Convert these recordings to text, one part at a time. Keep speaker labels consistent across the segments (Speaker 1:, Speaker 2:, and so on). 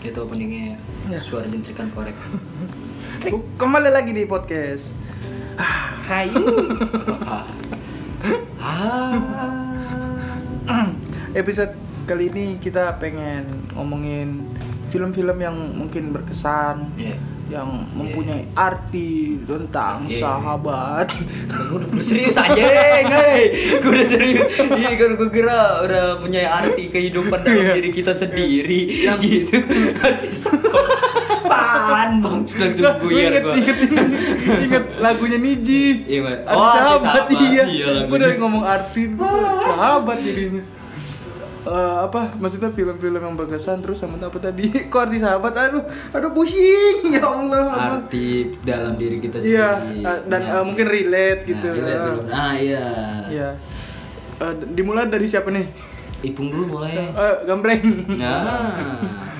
Speaker 1: Gitu openingnya ya.
Speaker 2: Ya.
Speaker 1: Suara jentrikan korek.
Speaker 2: Ku- Kembali lagi di podcast.
Speaker 3: Hai.
Speaker 1: Ah.
Speaker 2: Episode kali ini kita pengen ngomongin film-film yang mungkin berkesan,
Speaker 1: Iya.
Speaker 2: yang mempunyai arti tentang
Speaker 1: Iya.
Speaker 2: sahabat.
Speaker 1: Gue udah serius anjing, hei. Gue udah serius. Iya, kan gue kira udah punya arti kehidupan dalam
Speaker 2: Iya.
Speaker 1: diri kita sendiri gitu. Arti Pan bang, langsung
Speaker 2: Nah, gua
Speaker 1: buyar
Speaker 2: inget,
Speaker 1: gue.
Speaker 2: inget, inget, inget lagunya Niji.
Speaker 1: Iya, Mat.
Speaker 2: Ada
Speaker 1: Oh, ada
Speaker 2: sahabat,
Speaker 1: sahabat.
Speaker 2: iya.
Speaker 1: Iya,
Speaker 2: Gua
Speaker 1: lagunya.
Speaker 2: dari ngomong arti sahabat jadinya. Eh, apa maksudnya film-film yang berkesan terus sama apa tadi kok arti sahabat aduh aduh pusing ya allah ampun.
Speaker 1: Arti dalam diri kita sendiri.
Speaker 2: Iya, eh, dan
Speaker 1: Punya
Speaker 2: eh, mungkin relate gitu.
Speaker 1: Nah, relate dulu. Ah, iya.
Speaker 2: Iya. Eh, d- dimulai dari siapa nih?
Speaker 1: Ipung dulu boleh.
Speaker 2: Eh, gambreng.
Speaker 1: Nah.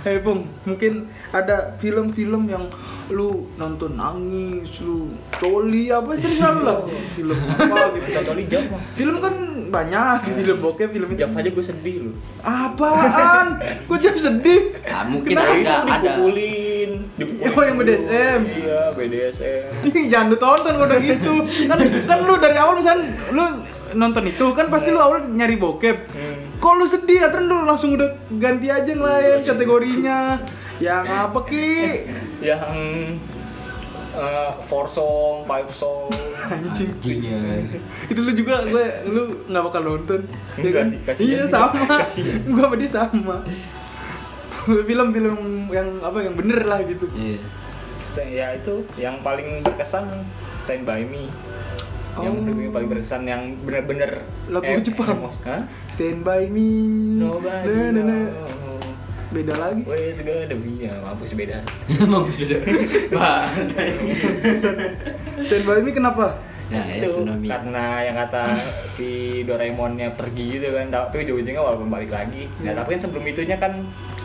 Speaker 2: Hei Eh, Bung, mungkin ada film-film yang lu nonton nangis, lu coli apa itu selalu lah film apa gitu.
Speaker 3: Cocoli Jav mah.
Speaker 2: Film kan banyak film bokep, film itu
Speaker 3: Jav aja gue sedih lu.
Speaker 2: apaan? Kok jam sedih?
Speaker 1: Ah, mungkin
Speaker 2: Kenapa?
Speaker 1: ada.
Speaker 3: dipukulin, dipukulin.
Speaker 2: Oh, yang
Speaker 3: dulu.
Speaker 2: BDSM.
Speaker 3: Iya, BDSM.
Speaker 2: Jangan lu tonton kalau udah gitu. Kan kan lu dari awal misalnya lu nonton itu kan pasti lu awal nyari bokep.
Speaker 3: Hmm.
Speaker 2: Kok lu sedih ya terus lu langsung udah ganti aja yang lain kategorinya. Yang apa ki?
Speaker 3: Yang eh, four song, five song.
Speaker 2: Anjing.
Speaker 1: Anjing ya.
Speaker 2: Itu lu juga gue lu nggak bakal nonton. ya
Speaker 3: Enggak
Speaker 2: kan?
Speaker 3: sih, kasihan
Speaker 2: Iya
Speaker 3: juga.
Speaker 2: sama.
Speaker 3: Kasihan.
Speaker 2: Gua sama dia sama. Film-film yang apa yang bener lah gitu.
Speaker 1: Iya.
Speaker 3: Sta- ya itu yang paling berkesan Stand By Me. Yang
Speaker 2: Oh.
Speaker 3: menurut gue paling berkesan yang bener-bener
Speaker 2: Lagu Jepang.
Speaker 3: Hah?
Speaker 2: Stand by me.
Speaker 3: Nobody
Speaker 2: Na, na, na.
Speaker 3: knows.
Speaker 2: Beda lagi.
Speaker 3: Wait, gue demi ya, mampus beda.
Speaker 1: Mampus sudah.
Speaker 2: Stand by me kenapa?
Speaker 1: Nah,
Speaker 3: itu
Speaker 1: ekonomi.
Speaker 3: Gitu. karena yang kata si Doraemonnya pergi gitu kan tapi ujung-ujungnya walaupun balik lagi nah
Speaker 2: Iya.
Speaker 3: tapi kan sebelum itunya kan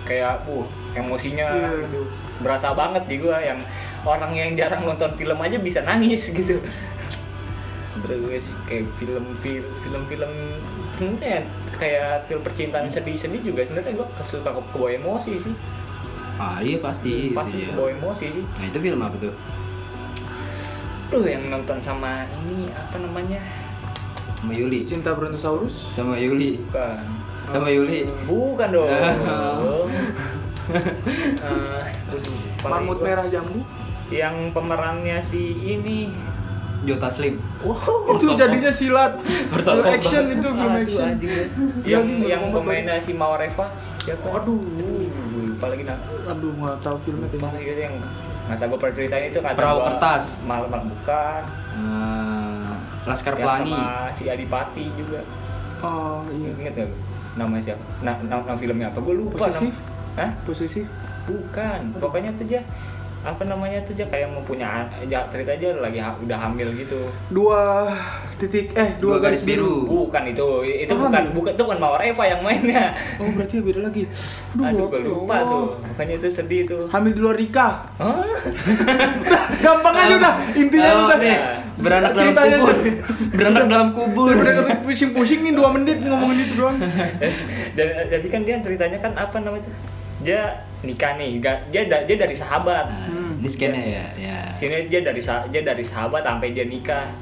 Speaker 3: kayak uh emosinya
Speaker 2: Iya.
Speaker 3: gitu berasa banget di gua yang orang yang jarang nonton film aja bisa nangis gitu terus kayak film film film film sebenarnya kayak film percintaan sedih-sedih juga sebenarnya gua kesuka ke kebawa emosi sih
Speaker 1: Ah, iya pasti.
Speaker 3: pasti
Speaker 1: Iya.
Speaker 3: kebawa emosi sih
Speaker 1: Nah, itu film apa tuh?
Speaker 3: Duh, yang nonton sama ini apa namanya
Speaker 1: Sama Yuli.
Speaker 2: Cinta Brontosaurus?
Speaker 1: Sama Yuli.
Speaker 3: bukan
Speaker 1: Sama Yuli.
Speaker 3: Bukan dong.
Speaker 1: Ya.
Speaker 3: Eh, paling
Speaker 2: Mamut
Speaker 3: gua-
Speaker 2: merah jambu?
Speaker 3: Yang pemerannya si ini.
Speaker 1: Jota Slim.
Speaker 3: Wow.
Speaker 2: itu jadinya silat.
Speaker 1: Bertokoh.
Speaker 2: Film action itu film
Speaker 3: Aduh,
Speaker 2: action.
Speaker 3: anjing. ya.
Speaker 2: Iya,
Speaker 3: yang
Speaker 2: ini
Speaker 3: yang
Speaker 2: bertokoh.
Speaker 3: pemainnya si Mawareva siapa?
Speaker 2: Aduh.
Speaker 3: lupa lagi nah.
Speaker 2: Aduh nggak tahu filmnya
Speaker 3: Lupa
Speaker 2: kayaknya.
Speaker 3: lagi itu yang kata gue pernah ceritain itu kata
Speaker 1: Perahu
Speaker 3: gua
Speaker 1: kertas.
Speaker 3: malam malam bukan.
Speaker 1: Ah, Laskar
Speaker 3: Yang
Speaker 1: Pelangi.
Speaker 3: sama si Adipati juga.
Speaker 2: Oh iya.
Speaker 3: Ingat gak lu? Namanya siapa? Nah, nama, nama filmnya apa? Gue lupa.
Speaker 2: Posesif?
Speaker 3: Nama. Hah?
Speaker 2: Posisi?
Speaker 3: Bukan, pokoknya tuh dia apa namanya tuh dia kayak mau punya an- ya, cerita aja lagi ha- udah hamil gitu.
Speaker 2: Dua titik eh dua, garis, biru.
Speaker 3: Bukan itu, itu
Speaker 2: Oh,
Speaker 3: bukan
Speaker 2: hamil.
Speaker 3: bukan itu bukan Mawar Eva yang mainnya.
Speaker 2: Oh berarti beda lagi.
Speaker 3: Aduh, gue
Speaker 2: apa?
Speaker 3: lupa
Speaker 2: Oh.
Speaker 3: tuh. Makanya itu sedih tuh.
Speaker 2: Hamil di luar nikah.
Speaker 3: Hah?
Speaker 2: Gampang aja udah. Intinya
Speaker 1: Oh,
Speaker 2: udah.
Speaker 1: nih, beranak dalam
Speaker 2: Ceritanya
Speaker 1: kubur.
Speaker 2: tuh.
Speaker 1: Beranak dalam kubur.
Speaker 2: Udah kata pusing-pusing nih dua menit ngomongin itu doang.
Speaker 3: Dan jadi kan dia ceritanya kan apa namanya tuh? Dia nikah nih, ga- dia da- dia dari sahabat.
Speaker 1: Nah,
Speaker 2: Hmm.
Speaker 1: Ini scan ya, ya.
Speaker 3: Sini dia dari sa- dia dari sahabat sampai dia nikah.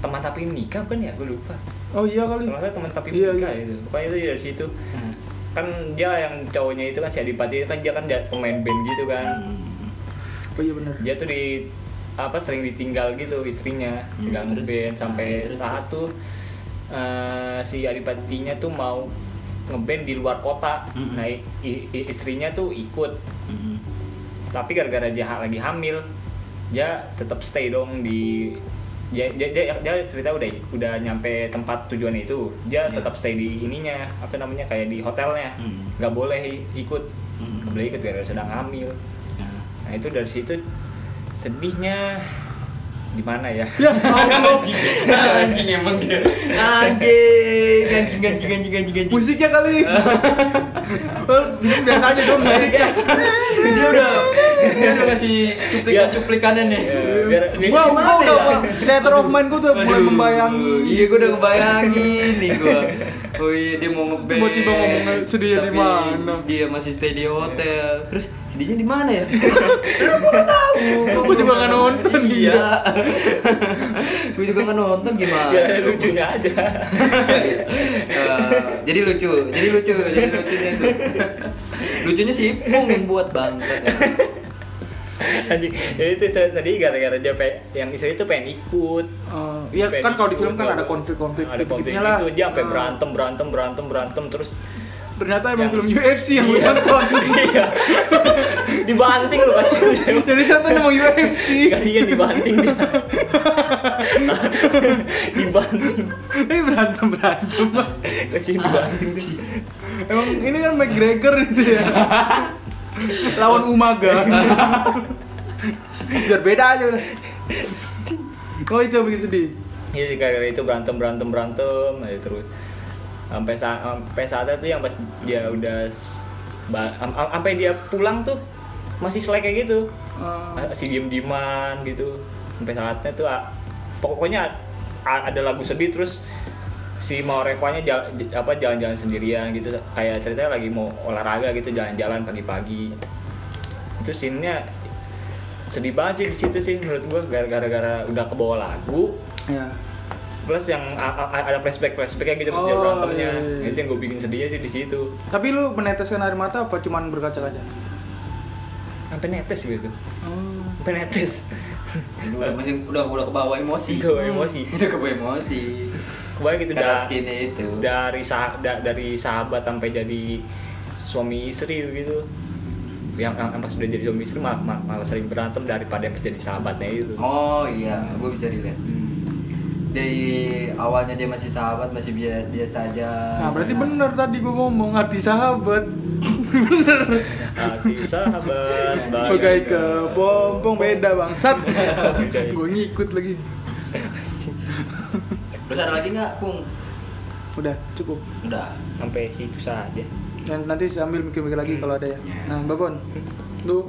Speaker 3: Teman tapi nikah kan ya, gue lupa.
Speaker 2: Oh iya kali.
Speaker 3: Ternyata teman tapi
Speaker 2: Iya,
Speaker 3: nikah
Speaker 2: iya.
Speaker 3: itu. Pokoknya itu dari situ.
Speaker 1: Nah.
Speaker 3: kan dia yang cowoknya itu kan si Adipati itu kan dia kan dia pemain band gitu kan
Speaker 1: Hmm.
Speaker 2: Oh iya benar.
Speaker 3: dia tuh di apa sering ditinggal gitu istrinya
Speaker 1: Hmm,
Speaker 3: tinggal
Speaker 1: terus?
Speaker 3: ngeband
Speaker 1: Ah,
Speaker 3: sampai
Speaker 1: terus,
Speaker 3: saat tuh eh, si Adipatinya tuh mau ngeband di luar kota
Speaker 1: Mm-mm.
Speaker 3: nah i- i- istrinya tuh ikut
Speaker 1: Hmm.
Speaker 3: tapi gara-gara dia ha- lagi hamil dia tetap stay dong di dia, dia, dia, dia cerita udah udah nyampe tempat tujuan itu dia
Speaker 1: Iya.
Speaker 3: tetap stay di ininya apa namanya kayak di hotelnya
Speaker 1: Hmm.
Speaker 3: nggak boleh i- ikut
Speaker 1: Hmm.
Speaker 3: nggak boleh ikut gara-gara sedang hamil
Speaker 1: Nah.
Speaker 3: nah itu dari situ sedihnya di mana ya
Speaker 2: Ya, Allah.
Speaker 1: anjing emang dia anjing anjing anjing anjing anjing anjing
Speaker 2: Musiknya kali. Oh, Biasa aja dong musiknya.
Speaker 1: dia udah dia udah ngasih cuplikan cuplikannya nih
Speaker 3: Iya, biar-
Speaker 1: Ya. Sendiri
Speaker 2: Gua gua
Speaker 1: gimana
Speaker 2: udah
Speaker 1: ya?
Speaker 2: gua theater of mind gua tuh mulai
Speaker 1: Aduh,
Speaker 2: membayangi.
Speaker 1: iya gua udah ngebayangin nih gua oh iya dia mau ngeband
Speaker 2: Tiba-tiba ngomongnya sedihnya di
Speaker 1: Tapi
Speaker 2: mana?
Speaker 1: dia masih stay di hotel terus sedihnya di mana ya
Speaker 2: Gua juga nggak nonton
Speaker 1: iya
Speaker 2: dia.
Speaker 1: gua juga nggak nonton gimana
Speaker 3: biar ada Ya, lucunya aja
Speaker 1: Eh, jadi lucu jadi lucu jadi lucunya itu lucunya si Ipung yang buat bangsat ya.
Speaker 3: anjing ya itu saya- tadi gara-gara dia pe- yang istri itu pengen ikut
Speaker 2: Eh, Iya
Speaker 3: Pengen
Speaker 2: kan kalau di
Speaker 3: ikut,
Speaker 2: film kan
Speaker 3: nggak-
Speaker 2: ada konflik-konflik
Speaker 3: ada konflik
Speaker 2: gitu-gitunya lah.
Speaker 3: itu dia sampai
Speaker 2: Ah.
Speaker 3: berantem berantem berantem berantem terus
Speaker 2: Ternyata emang
Speaker 3: Yang-
Speaker 2: film UFC yang gua nonton.
Speaker 3: iya dibanting loh kasih
Speaker 2: Jadi nonton emang UFC.
Speaker 3: kasihan dibanting dia dibanting
Speaker 2: Ini berantem berantem.
Speaker 3: kasihan
Speaker 1: Ah,
Speaker 3: dibanting sih
Speaker 2: Emang ini kan McGregor gitu ya. Lawan Umaga. Biar beda aja udah. Oh itu yang bikin sedih.
Speaker 3: ya gara-gara itu berantem berantem berantem aja terus sampai sa- sampai saatnya tuh yang pas dia udah s- ba- am- am- sampai dia pulang tuh masih selek kayak gitu
Speaker 2: Eh,
Speaker 3: masih diem dieman gitu sampai saatnya tuh ah, pokoknya a- ada lagu sedih terus si mau revanya jal- j- apa jalan-jalan sendirian gitu kayak ceritanya lagi mau olahraga gitu jalan-jalan pagi-pagi itu scene-nya sedih banget sih di situ sih menurut gua gara-gara udah kebawa lagu
Speaker 2: ya.
Speaker 3: plus yang a- a- ada flashback flashbacknya gitu terus dia
Speaker 2: Oh,
Speaker 3: berantemnya
Speaker 2: iya, iya, iya.
Speaker 3: itu yang gue bikin sedihnya sih di situ
Speaker 2: Tapi lu meneteskan air mata apa cuman berkaca-kaca?
Speaker 3: sampai netes gitu
Speaker 2: Oh.
Speaker 3: sampai netes
Speaker 1: udah masih- udah udah kebawa emosi
Speaker 3: Kebawa emosi.
Speaker 1: udah kebawa emosi
Speaker 3: kebayang gitu
Speaker 1: Karena
Speaker 3: dah
Speaker 1: skinnya itu
Speaker 3: dari sah da- dari sahabat sampai jadi suami istri gitu yang, yang yang pas udah jadi suami istri mal- mal- malah sering berantem daripada yang pas jadi sahabatnya itu
Speaker 1: oh iya gue bisa relate dari awalnya dia masih sahabat masih biasa biasa aja
Speaker 2: Nah, berarti bener tadi gua ngomong arti sahabat.
Speaker 3: Iya,
Speaker 2: bener.
Speaker 3: hati sahabat
Speaker 2: Bagai ke bombong beda bangsat.
Speaker 3: iya. Beda ya.
Speaker 2: Gua ngikut lagi.
Speaker 1: terus ada lagi nggak pung
Speaker 2: Udah, cukup.
Speaker 1: udah
Speaker 3: sampai situ saja
Speaker 2: Dan nanti sambil mikir-mikir lagi
Speaker 3: Hmm.
Speaker 2: kalau ada ya.
Speaker 1: Ya.
Speaker 2: Nah, Babon, lu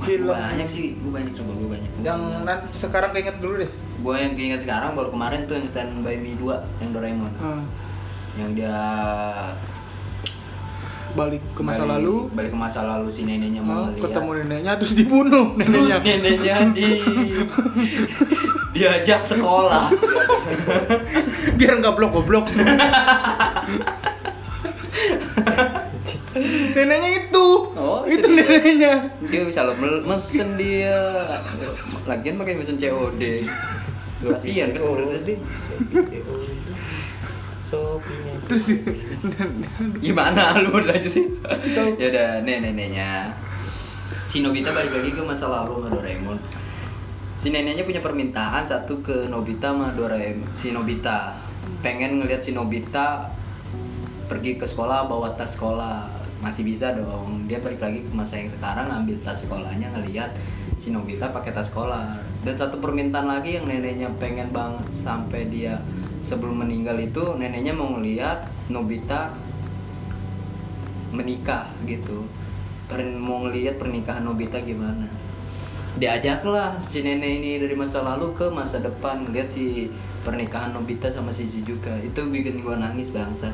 Speaker 1: Wah,
Speaker 2: film
Speaker 1: gua banyak sih gue banyak coba gue banyak
Speaker 2: yang na- sekarang keinget dulu deh.
Speaker 1: gue yang keinget sekarang baru kemarin tuh yang stand by me 2 yang Doraemon
Speaker 2: Hmm,
Speaker 1: yang dia
Speaker 2: balik ke masa
Speaker 1: balik-
Speaker 2: lalu,
Speaker 1: balik ke masa lalu si neneknya
Speaker 2: nah,
Speaker 1: mau ngeliat
Speaker 2: ketemu neneknya terus dibunuh neneknya.
Speaker 1: neneknya di diajak sekolah
Speaker 2: Biar nggak blok goblok. neneknya itu.
Speaker 1: Oh,
Speaker 2: itu
Speaker 1: itu dia.
Speaker 2: neneknya.
Speaker 1: dia bisa lo mel- mesen dia lagian pakai mesen COD kasihan kan udah tadi
Speaker 3: sopinya
Speaker 2: Terus di-
Speaker 1: gimana lu udah jadi
Speaker 2: Tahu.
Speaker 1: ya udah nih neneknya si Nobita balik lagi ke masa lalu sama Doraemon si neneknya punya permintaan satu ke Nobita sama Doraemon si Nobita pengen ngelihat si Nobita pergi ke sekolah bawa tas sekolah masih bisa dong dia balik lagi ke masa yang sekarang ambil tas sekolahnya ngelihat si Nobita pakai tas sekolah dan satu permintaan lagi yang neneknya pengen banget sampai dia sebelum meninggal itu neneknya mau ngelihat Nobita menikah gitu Pern mau ngelihat pernikahan Nobita gimana diajaklah si nenek ini dari masa lalu ke masa depan lihat si pernikahan Nobita sama si Shizuka itu bikin gua nangis bangsa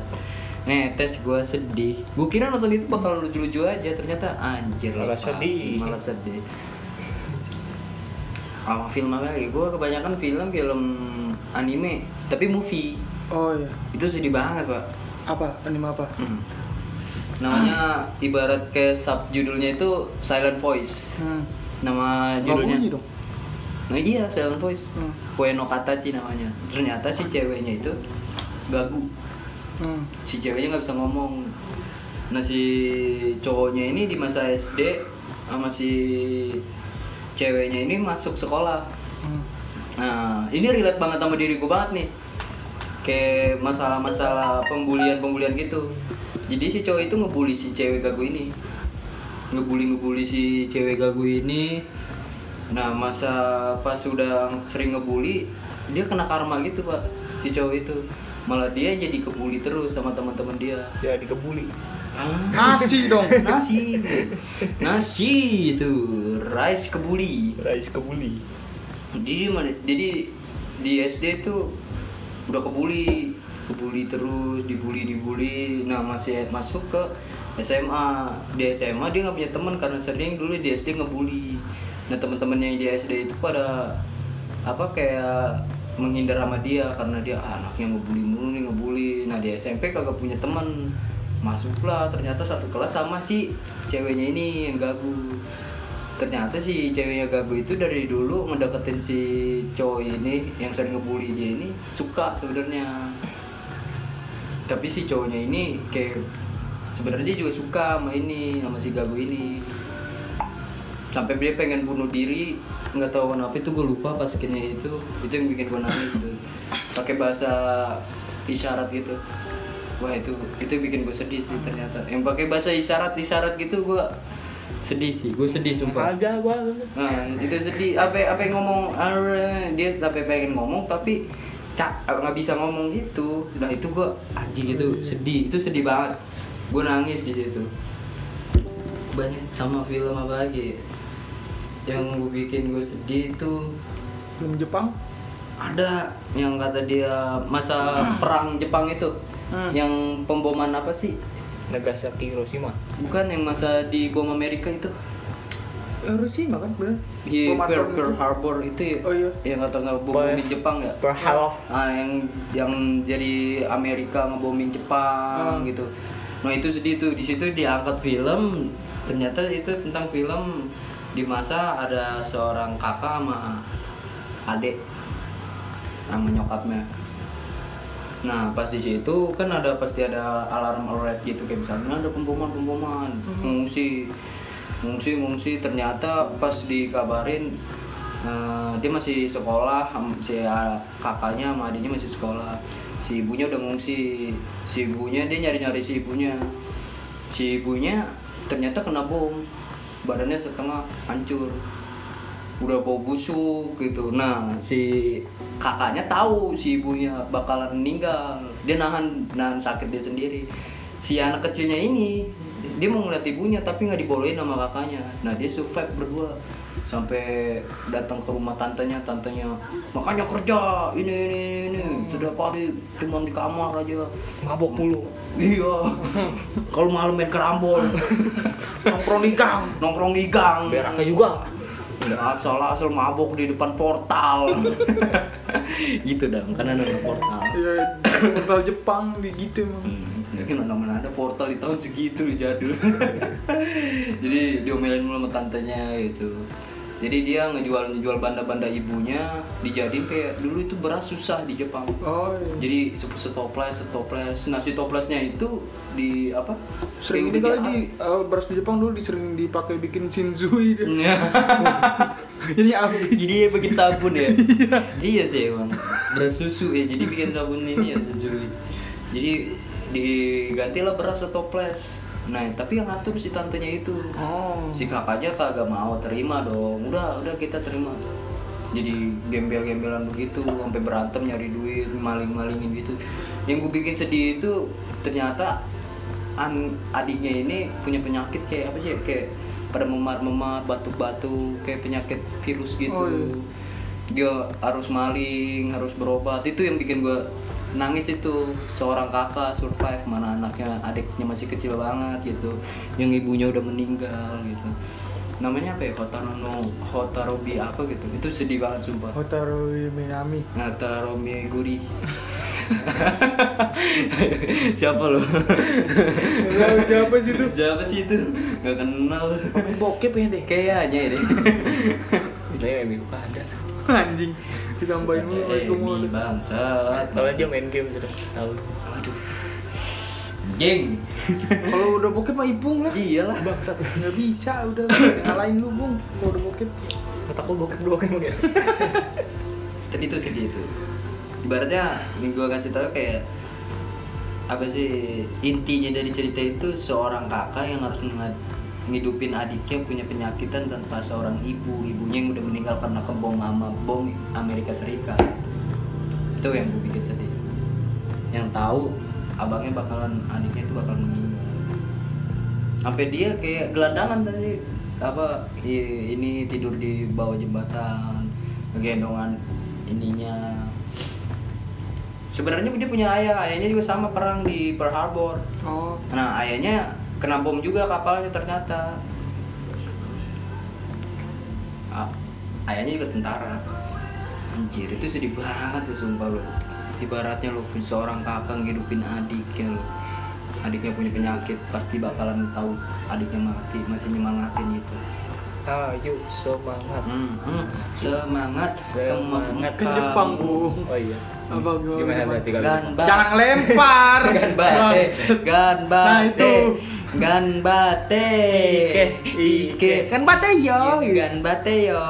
Speaker 1: netes gua sedih gua kira nonton itu bakal lucu-lucu aja ternyata anjir
Speaker 3: Malah
Speaker 1: Pak.
Speaker 3: sedih.
Speaker 1: malah sedih apa film apa lagi gua kebanyakan film film anime tapi movie
Speaker 2: Oh iya.
Speaker 1: itu sedih banget pak
Speaker 2: Apa? Anime apa?
Speaker 1: Hmm. Namanya ibarat kayak subjudulnya itu Silent Voice.
Speaker 2: Hmm.
Speaker 1: Nama
Speaker 2: Nggak
Speaker 1: judulnya.
Speaker 2: bunyi dong.
Speaker 1: Nah iya Silent Voice.
Speaker 2: Hmm.
Speaker 1: Koe no Katachi namanya. Ternyata si ceweknya itu gagu.
Speaker 2: Hmm.
Speaker 1: Si ceweknya nggak bisa ngomong. Nah si cowoknya ini di masa SD sama si ceweknya ini masuk sekolah.
Speaker 2: Hmm.
Speaker 1: Nah, ini relate banget sama diriku banget nih. Kayak masalah-masalah pembulian-pembulian gitu. Jadi si cowok itu ngebully si cewek gagu ini. Ngebully ngebully si cewek gagu ini Nah masa pas sudah sering ngebully dia kena karma gitu pak si cowok itu malah dia jadi kebully terus sama teman-teman dia.
Speaker 3: ya dikebuli
Speaker 1: Ah,
Speaker 2: Nasi dong.
Speaker 1: nasi, nasi itu rice kebuli.
Speaker 3: Rais kebuli
Speaker 1: Jadi mana- jadi di SD itu udah kebuli, kebuli terus, dibully dibully. Nah masih masuk ke SMA di SMA dia nggak punya teman karena sering dulu di SD ngebully. Nah teman-temannya di SD itu pada apa kayak menghindar sama dia karena dia "Ah, anaknya ngebully mulu nih ngebully. Nah di SMP kagak punya teman masuklah ternyata satu kelas sama si ceweknya ini yang gagu ternyata si ceweknya gagu itu dari dulu ngedeketin si cowok ini yang sering ngebully dia ini suka sebenarnya tapi si cowoknya ini kayak sebenarnya dia juga suka sama ini sama si gagu ini sampai dia pengen bunuh diri nggak tahu kenapa itu gue lupa pas kayaknya itu itu yang bikin gue nangis gitu pakai bahasa isyarat gitu wah itu itu bikin gue sedih sih ternyata yang pakai bahasa isyarat isyarat gitu gue sedih sih gue sedih sumpah
Speaker 3: Agak gua
Speaker 1: Nah, itu sedih. Apa apa yang ngomong "Arr," dia sampai pengen ngomong tapi cak nggak bisa ngomong gitu. Nah itu gua anjing itu sedih. Itu sedih banget. Gua nangis di situ. Banyak sama film apa lagi? ya? Yang gua bikin gue sedih itu
Speaker 2: Film Jepang.
Speaker 1: ada yang kata dia masa perang Jepang itu.
Speaker 2: Hmm.
Speaker 1: Yang pemboman apa sih?
Speaker 3: Nagasaki Hiroshima
Speaker 1: Bukan yang masa di bom Amerika itu.
Speaker 2: Hiroshima kan bener.
Speaker 1: Di
Speaker 2: Bom atom
Speaker 1: Pearl, Pearl
Speaker 2: itu.
Speaker 1: Harbor itu ya.
Speaker 2: Oh iya.
Speaker 1: Yang kata nggak bom
Speaker 3: Boleh.
Speaker 1: di Jepang ya.
Speaker 3: Berhalah
Speaker 1: Ah, yang yang jadi Amerika ngebomin Jepang
Speaker 2: Hmm.
Speaker 1: gitu. Nah itu sedih tuh di situ diangkat film ternyata itu tentang film di masa ada seorang kakak sama adik sama nyokapnya. Nah pas di situ kan ada pasti ada alarm alert gitu kayak misalnya ada pemboman pemboman
Speaker 2: Hmm.
Speaker 1: mengungsi mengungsi mengungsi ternyata pas dikabarin eh, dia masih sekolah am- si ah, kakaknya sama adiknya masih sekolah si ibunya udah ngungsi si ibunya dia nyari nyari si ibunya si ibunya ternyata kena bom badannya setengah hancur udah bau busuk gitu nah si kakaknya tahu si ibunya bakalan meninggal dia nahan nahan sakit dia sendiri si anak kecilnya ini dia mau ngeliat ibunya tapi nggak dibolehin sama kakaknya nah dia survive berdua sampai datang ke rumah tantenya tantenya makanya kerja ini ini ini, ini. sudah pagi cuma di kamar aja
Speaker 3: mabok mulu
Speaker 1: iya kalau malam main kerambol
Speaker 2: Nongkrong di gang.
Speaker 1: nongkrong di gang
Speaker 3: Beraknya juga
Speaker 1: asal asal mabok di depan portal gitu dong karena ada portal
Speaker 2: Ya, portal Jepang di gitu emang.
Speaker 1: Hmm, yakin mana ada portal di tahun segitu lu jadul jadi diomelin mulu sama tantenya gitu jadi dia ngejual ngejual banda-banda ibunya dijadiin kayak dulu itu beras susah di Jepang
Speaker 2: Oh iya.
Speaker 1: jadi se- setoples setoples nah si toplesnya itu di apa
Speaker 2: Sering
Speaker 1: Kayak
Speaker 2: ini kali
Speaker 1: udah
Speaker 2: di eh, beras di Jepang dulu sering dipakai bikin shinzui deh.
Speaker 1: Iya.
Speaker 2: Ini habis.
Speaker 1: jadi dia bikin sabun ya iya sih emang beras susu ya jadi bikin sabun ini ya susu jadi digantilah beras atau toples nah tapi yang ngatur si tantenya itu
Speaker 2: Oh.
Speaker 1: si kakaknya kagak mau terima dong udah udah kita terima jadi gembel-gembelan begitu sampai berantem nyari duit maling-malingin gitu yang gue bikin sedih itu ternyata an- adiknya ini punya penyakit kayak apa sih kayak pada memar-memar batu-batu kayak penyakit virus gitu
Speaker 2: Oh, iya.
Speaker 1: dia harus maling harus berobat itu yang bikin gue nangis itu seorang kakak survive mana anaknya adiknya masih kecil banget gitu yang ibunya udah meninggal gitu namanya apa ya Hotaru no Hotarobi apa gitu itu sedih banget sumpah
Speaker 2: Hotaru Minami.
Speaker 1: Hotarobi Guri siapa lo
Speaker 2: Lah, siapa sih itu?
Speaker 1: siapa sih itu nggak kenal
Speaker 3: Bokep ya deh
Speaker 1: kayaknya ini
Speaker 3: Nih minggu ada
Speaker 2: Anjing. Ditambahin mulu
Speaker 1: eh
Speaker 2: itu mau.
Speaker 1: ini bangsat
Speaker 3: Kalau aja main game terus tahu
Speaker 1: aduh geng
Speaker 2: Kalau udah bokep mah ipung lah.
Speaker 1: iyalah
Speaker 2: Bangsat. Enggak bisa udah nggak ada ngalahin lu, Bung. Kalau udah bokep.
Speaker 3: Otak gua bokep doang emang ya
Speaker 1: tapi itu sedih itu ibaratnya yang gue kasih tahu kayak apa sih intinya dari cerita itu seorang kakak yang harus mengat- ngidupin adiknya punya penyakitan tanpa seorang ibu ibunya yang udah meninggal karena kebom sama bom Amerika Serikat itu yang gue bikin sedih yang tahu abangnya bakalan adiknya itu bakalan meninggal sampai dia kayak gelandangan tadi apa i- ini tidur di bawah jembatan gendongan ininya sebenarnya dia punya ayah ayahnya juga sama perang di Pearl Harbor
Speaker 2: oh
Speaker 1: Nah, ayahnya kena bom juga kapalnya ternyata. Ah, ayahnya juga tentara. Anjir, itu sedih banget tuh sumpah lo. Ibaratnya lo punya seorang kakak ngidupin adiknya lo. Adiknya punya penyakit, pasti bakalan tahu adiknya mati, masih nyemangatin gitu.
Speaker 3: Ayo semangat.
Speaker 1: Hmm, hmm, semangat,
Speaker 3: Semangat
Speaker 2: Ke Jepang, Bu.
Speaker 3: Oh iya.
Speaker 2: Apa gua-
Speaker 3: Gimana berarti kalau
Speaker 1: Dan
Speaker 3: Jepang?
Speaker 1: Ba-
Speaker 2: jangan lempar
Speaker 1: Gan bate, gan bate,
Speaker 2: Nah, itu.
Speaker 1: gan bate,
Speaker 3: Ike,
Speaker 1: ike,
Speaker 2: kan bate yo
Speaker 1: Iya. gan bate yo,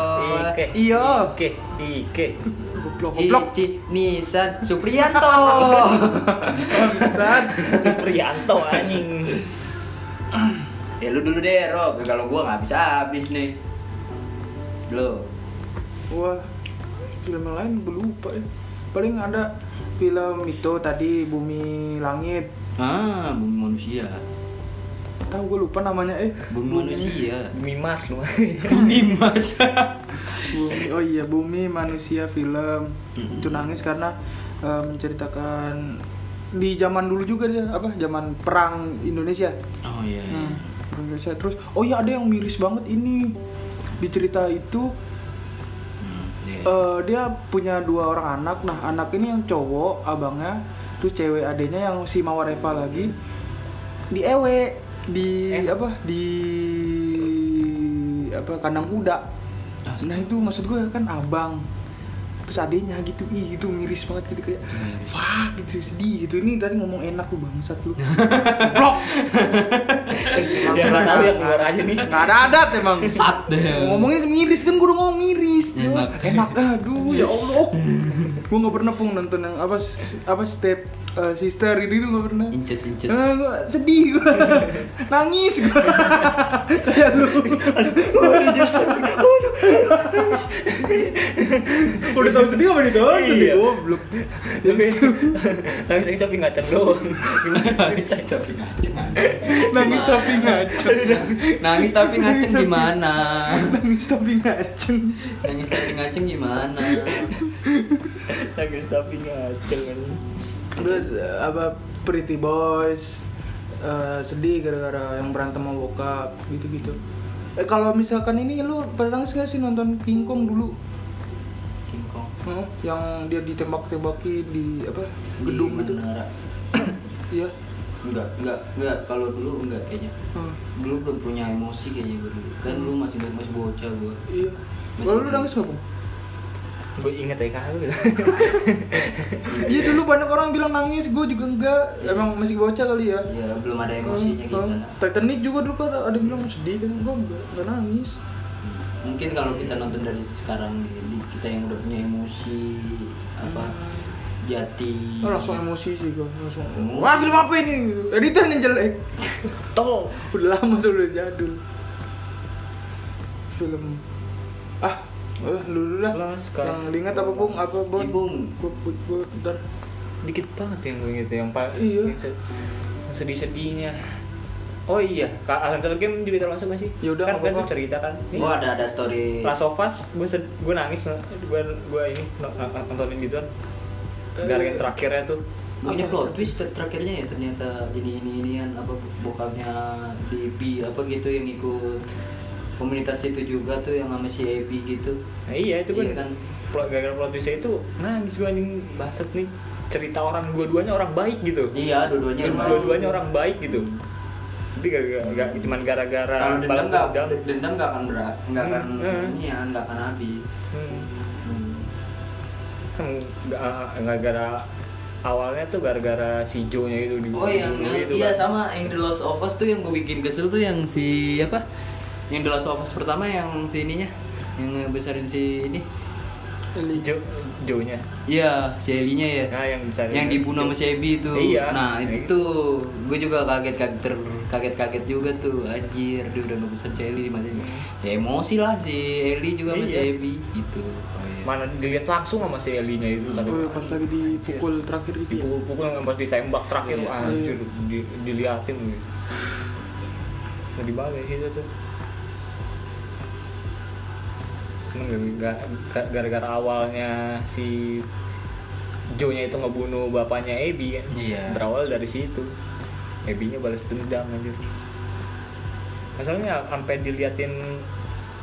Speaker 3: Ike.
Speaker 2: Iya.
Speaker 3: Ike. Ike.
Speaker 2: goblok goblok
Speaker 1: Ici Nisan Supriyanto.
Speaker 2: Bangsat.
Speaker 3: Supriyanto anjing.
Speaker 1: ya lu dulu deh Rob, kalau gua nggak bisa habis nih. Lo,
Speaker 2: Wah, film yang lain gue lupa ya. Paling ada film itu tadi Bumi Langit.
Speaker 1: ah bumi manusia,
Speaker 2: Tahu gue lupa namanya eh.
Speaker 1: bumi manusia.
Speaker 3: Mimar lu.
Speaker 1: Dimas.
Speaker 2: Bumi, oh iya Bumi Manusia film.
Speaker 1: Mhm.
Speaker 2: Itu nangis karena eh, menceritakan di zaman dulu juga dia apa zaman perang Indonesia.
Speaker 1: oh iya.
Speaker 2: Hmm, perang Indonesia terus oh iya ada yang miris banget ini. Di cerita itu
Speaker 1: Hmm, iya.
Speaker 2: Eh, dia punya dua orang anak. Nah, anak ini yang cowok, abangnya, terus cewek adiknya yang si Mawareva lagi di ewe di
Speaker 3: Eh.
Speaker 2: apa? Di apa kandang kuda.
Speaker 1: Ah,
Speaker 2: Nah, itu maksud gue kan abang. Terus adiknya gitu, ih itu miris banget gitu kayak
Speaker 1: Miris.
Speaker 2: fuck gitu sedih gitu. Ini tadi ngomong enak lu bangsat lu. Blok.
Speaker 3: Ya nggak tahu ya keluar aja nih.
Speaker 2: Enggak ada adat emang.
Speaker 1: Sat deh.
Speaker 2: Ngomongnya miris kan gue udah ngomong miris.
Speaker 1: Enak.
Speaker 2: Enak. Aduh ya Allah. gue nggak pernah pung nonton yang apa apa step eh, sister gitu itu nggak pernah.
Speaker 1: Inces inces.
Speaker 2: Eh, gua sedih gue nangis gue kayak lu udah tau sedih apa ditonton
Speaker 3: Iya.
Speaker 2: sedih goblok
Speaker 3: Tapi nangis tapi ngaceng doang. Gimana
Speaker 1: Nangis
Speaker 3: cerita?
Speaker 1: tapi ngaceng.
Speaker 2: nangis tapi ngaceng
Speaker 1: Nangis tapi ngaceng gimana?
Speaker 2: nangis tapi ngaceng
Speaker 1: Nangis tapi ngaceng gimana?
Speaker 3: Nangis tapi ngaceng anjing.
Speaker 2: terus eh, apa Pretty Boys eh, sedih gara-gara yang berantem sama bokap gitu-gitu eh kalau misalkan ini lu pernah nangis nggak sih nonton King Kong dulu
Speaker 1: King Kong.
Speaker 2: Heeh, yang dia ditembak-tembakin di apa gedung
Speaker 1: Di
Speaker 2: gitu
Speaker 1: Menara.
Speaker 2: iya
Speaker 1: Enggak, enggak, enggak. Kalau dulu enggak kayaknya.
Speaker 2: Heeh,
Speaker 1: Dulu belum punya emosi kayaknya gue dulu. Kan lu masih masih bocah gue.
Speaker 2: iya
Speaker 1: Masih Iya.
Speaker 2: kalau lu
Speaker 1: ingat.
Speaker 2: nangis nggak Bang?
Speaker 3: Gue inget ya kan lu.
Speaker 2: iya dulu banyak orang bilang nangis gue juga enggak emang masih bocah kali ya
Speaker 1: Ya belum ada Iya. emosinya
Speaker 2: Heeh,
Speaker 1: kita. Hmm.
Speaker 2: heeh. Titanic juga dulu kan ada yang bilang sedih kan gue enggak, enggak nangis
Speaker 1: Mungkin kalau kita nonton dari sekarang nih, di- kita yang udah punya emosi apa jati. ya.
Speaker 2: Oh, langsung emosi sih gue langsung
Speaker 1: Iya. Emosi.
Speaker 2: wah film apa ini editan yang jelek
Speaker 3: Tolong.
Speaker 2: udah lama tuh udah jadul film ah eh, lu dulu lah
Speaker 3: Lah,
Speaker 2: yang
Speaker 3: sekarang-
Speaker 2: diingat apa bung apa bung
Speaker 1: Ibung.
Speaker 2: gua gua- gua- ntar
Speaker 3: dikit banget yang gue inget ya, yang pak
Speaker 2: Iya.
Speaker 3: yang se- yang sedih-sedihnya oh iya Ka- Alan game juga termasuk gak sih
Speaker 2: Ya udah,
Speaker 3: kan
Speaker 2: nggak apa-apa.
Speaker 3: kan
Speaker 2: Iya.
Speaker 3: tuh cerita kan
Speaker 1: Oh ada ada story.
Speaker 3: Last of Us gue sed- gue nangis gue gue ini n- n- nontonin gitu kan
Speaker 2: Eh.
Speaker 3: gara yang terakhirnya tuh
Speaker 1: Punya plot twist ter- terakhirnya ya ternyata ini ini inian apa bokapnya Debbie apa gitu yang ikut komunitas itu juga tuh yang sama si Abby gitu.
Speaker 3: nah, iya itu kan,
Speaker 1: Iya kan.
Speaker 3: plot gara-gara plot twistnya itu nangis gue anjing baset nih cerita orang dua-duanya orang baik gitu
Speaker 1: Iya, dua-duanya
Speaker 3: Cuma
Speaker 1: baik.
Speaker 3: dua-duanya orang baik gitu tapi gara-gara gara- cuman gara-gara
Speaker 1: Kalau dendam
Speaker 3: balas
Speaker 1: nggak
Speaker 3: dendam
Speaker 1: dendam nggak akan berat, nggak akan
Speaker 3: Hmm.
Speaker 1: ini ya, nggak akan habis.
Speaker 3: Hmm.
Speaker 1: Hmm.
Speaker 3: kan ga- gara-gara awalnya tuh gara-gara si Joe nya itu di
Speaker 1: Oh yang
Speaker 3: itu
Speaker 1: iya
Speaker 3: kan.
Speaker 1: sama yang The Last of Us tuh yang gue bikin kesel tuh yang si apa? Yang The Last of Us pertama yang si ininya yang ngebesarin si ini
Speaker 2: Eli.
Speaker 3: Jo Jo nya
Speaker 1: Iya, si Elinya ya.
Speaker 3: nah yang bisa
Speaker 1: yang dibunuh sama si Ebi itu.
Speaker 3: Iya.
Speaker 1: Nah,
Speaker 3: Iya.
Speaker 1: itu gue juga kaget kaget ter kaget kaget juga tuh anjir dia udah ngebesan si Eli di matanya. Ya emosi lah si Eli juga sama si
Speaker 3: Hmm. Iya.
Speaker 1: Ebi gitu. Oh, iya.
Speaker 3: mana dilihat langsung sama si Elinya itu
Speaker 1: Hmm.
Speaker 3: tadi
Speaker 2: Oh, pas lagi dipukul terakhir gitu ya.
Speaker 3: dipukul-pukul yang pas ditembak terakhir
Speaker 1: Iya.
Speaker 3: wah, anjir di, diliatin gitu ngeri banget sih itu tuh Cuman gara- gara- gara-gara awalnya si Joe nya itu ngebunuh bapaknya Abby kan
Speaker 1: Iya.
Speaker 3: berawal dari situ Abby nya balas dendam anjir masalahnya sampai diliatin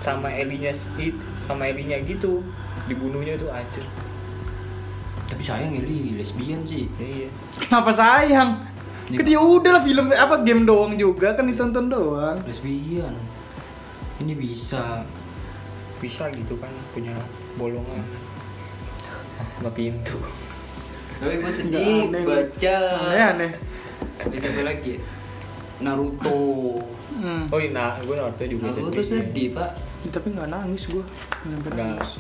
Speaker 3: sama Elinya itu sama Elinya gitu dibunuhnya itu anjir
Speaker 1: Tapi sayang Eli lesbian sih.
Speaker 3: iya
Speaker 2: Kenapa sayang? Kan dia udah lah film apa game doang juga kan ditonton doang.
Speaker 1: Lesbian. Ini bisa.
Speaker 3: bisa gitu kan punya bolongan sama pintu
Speaker 1: Tapi gue
Speaker 2: Nggak
Speaker 1: sedih
Speaker 2: aneh,
Speaker 1: baca.
Speaker 2: Aneh aneh.
Speaker 1: Baca apa lagi? ya? Naruto.
Speaker 2: Hmm.
Speaker 3: oh iya nah gue Naruto juga Iya.
Speaker 1: Naruto sedih, Pak.
Speaker 2: Tapi nggak nangis gua. Nggak sampai
Speaker 3: Nggak.
Speaker 2: nangis.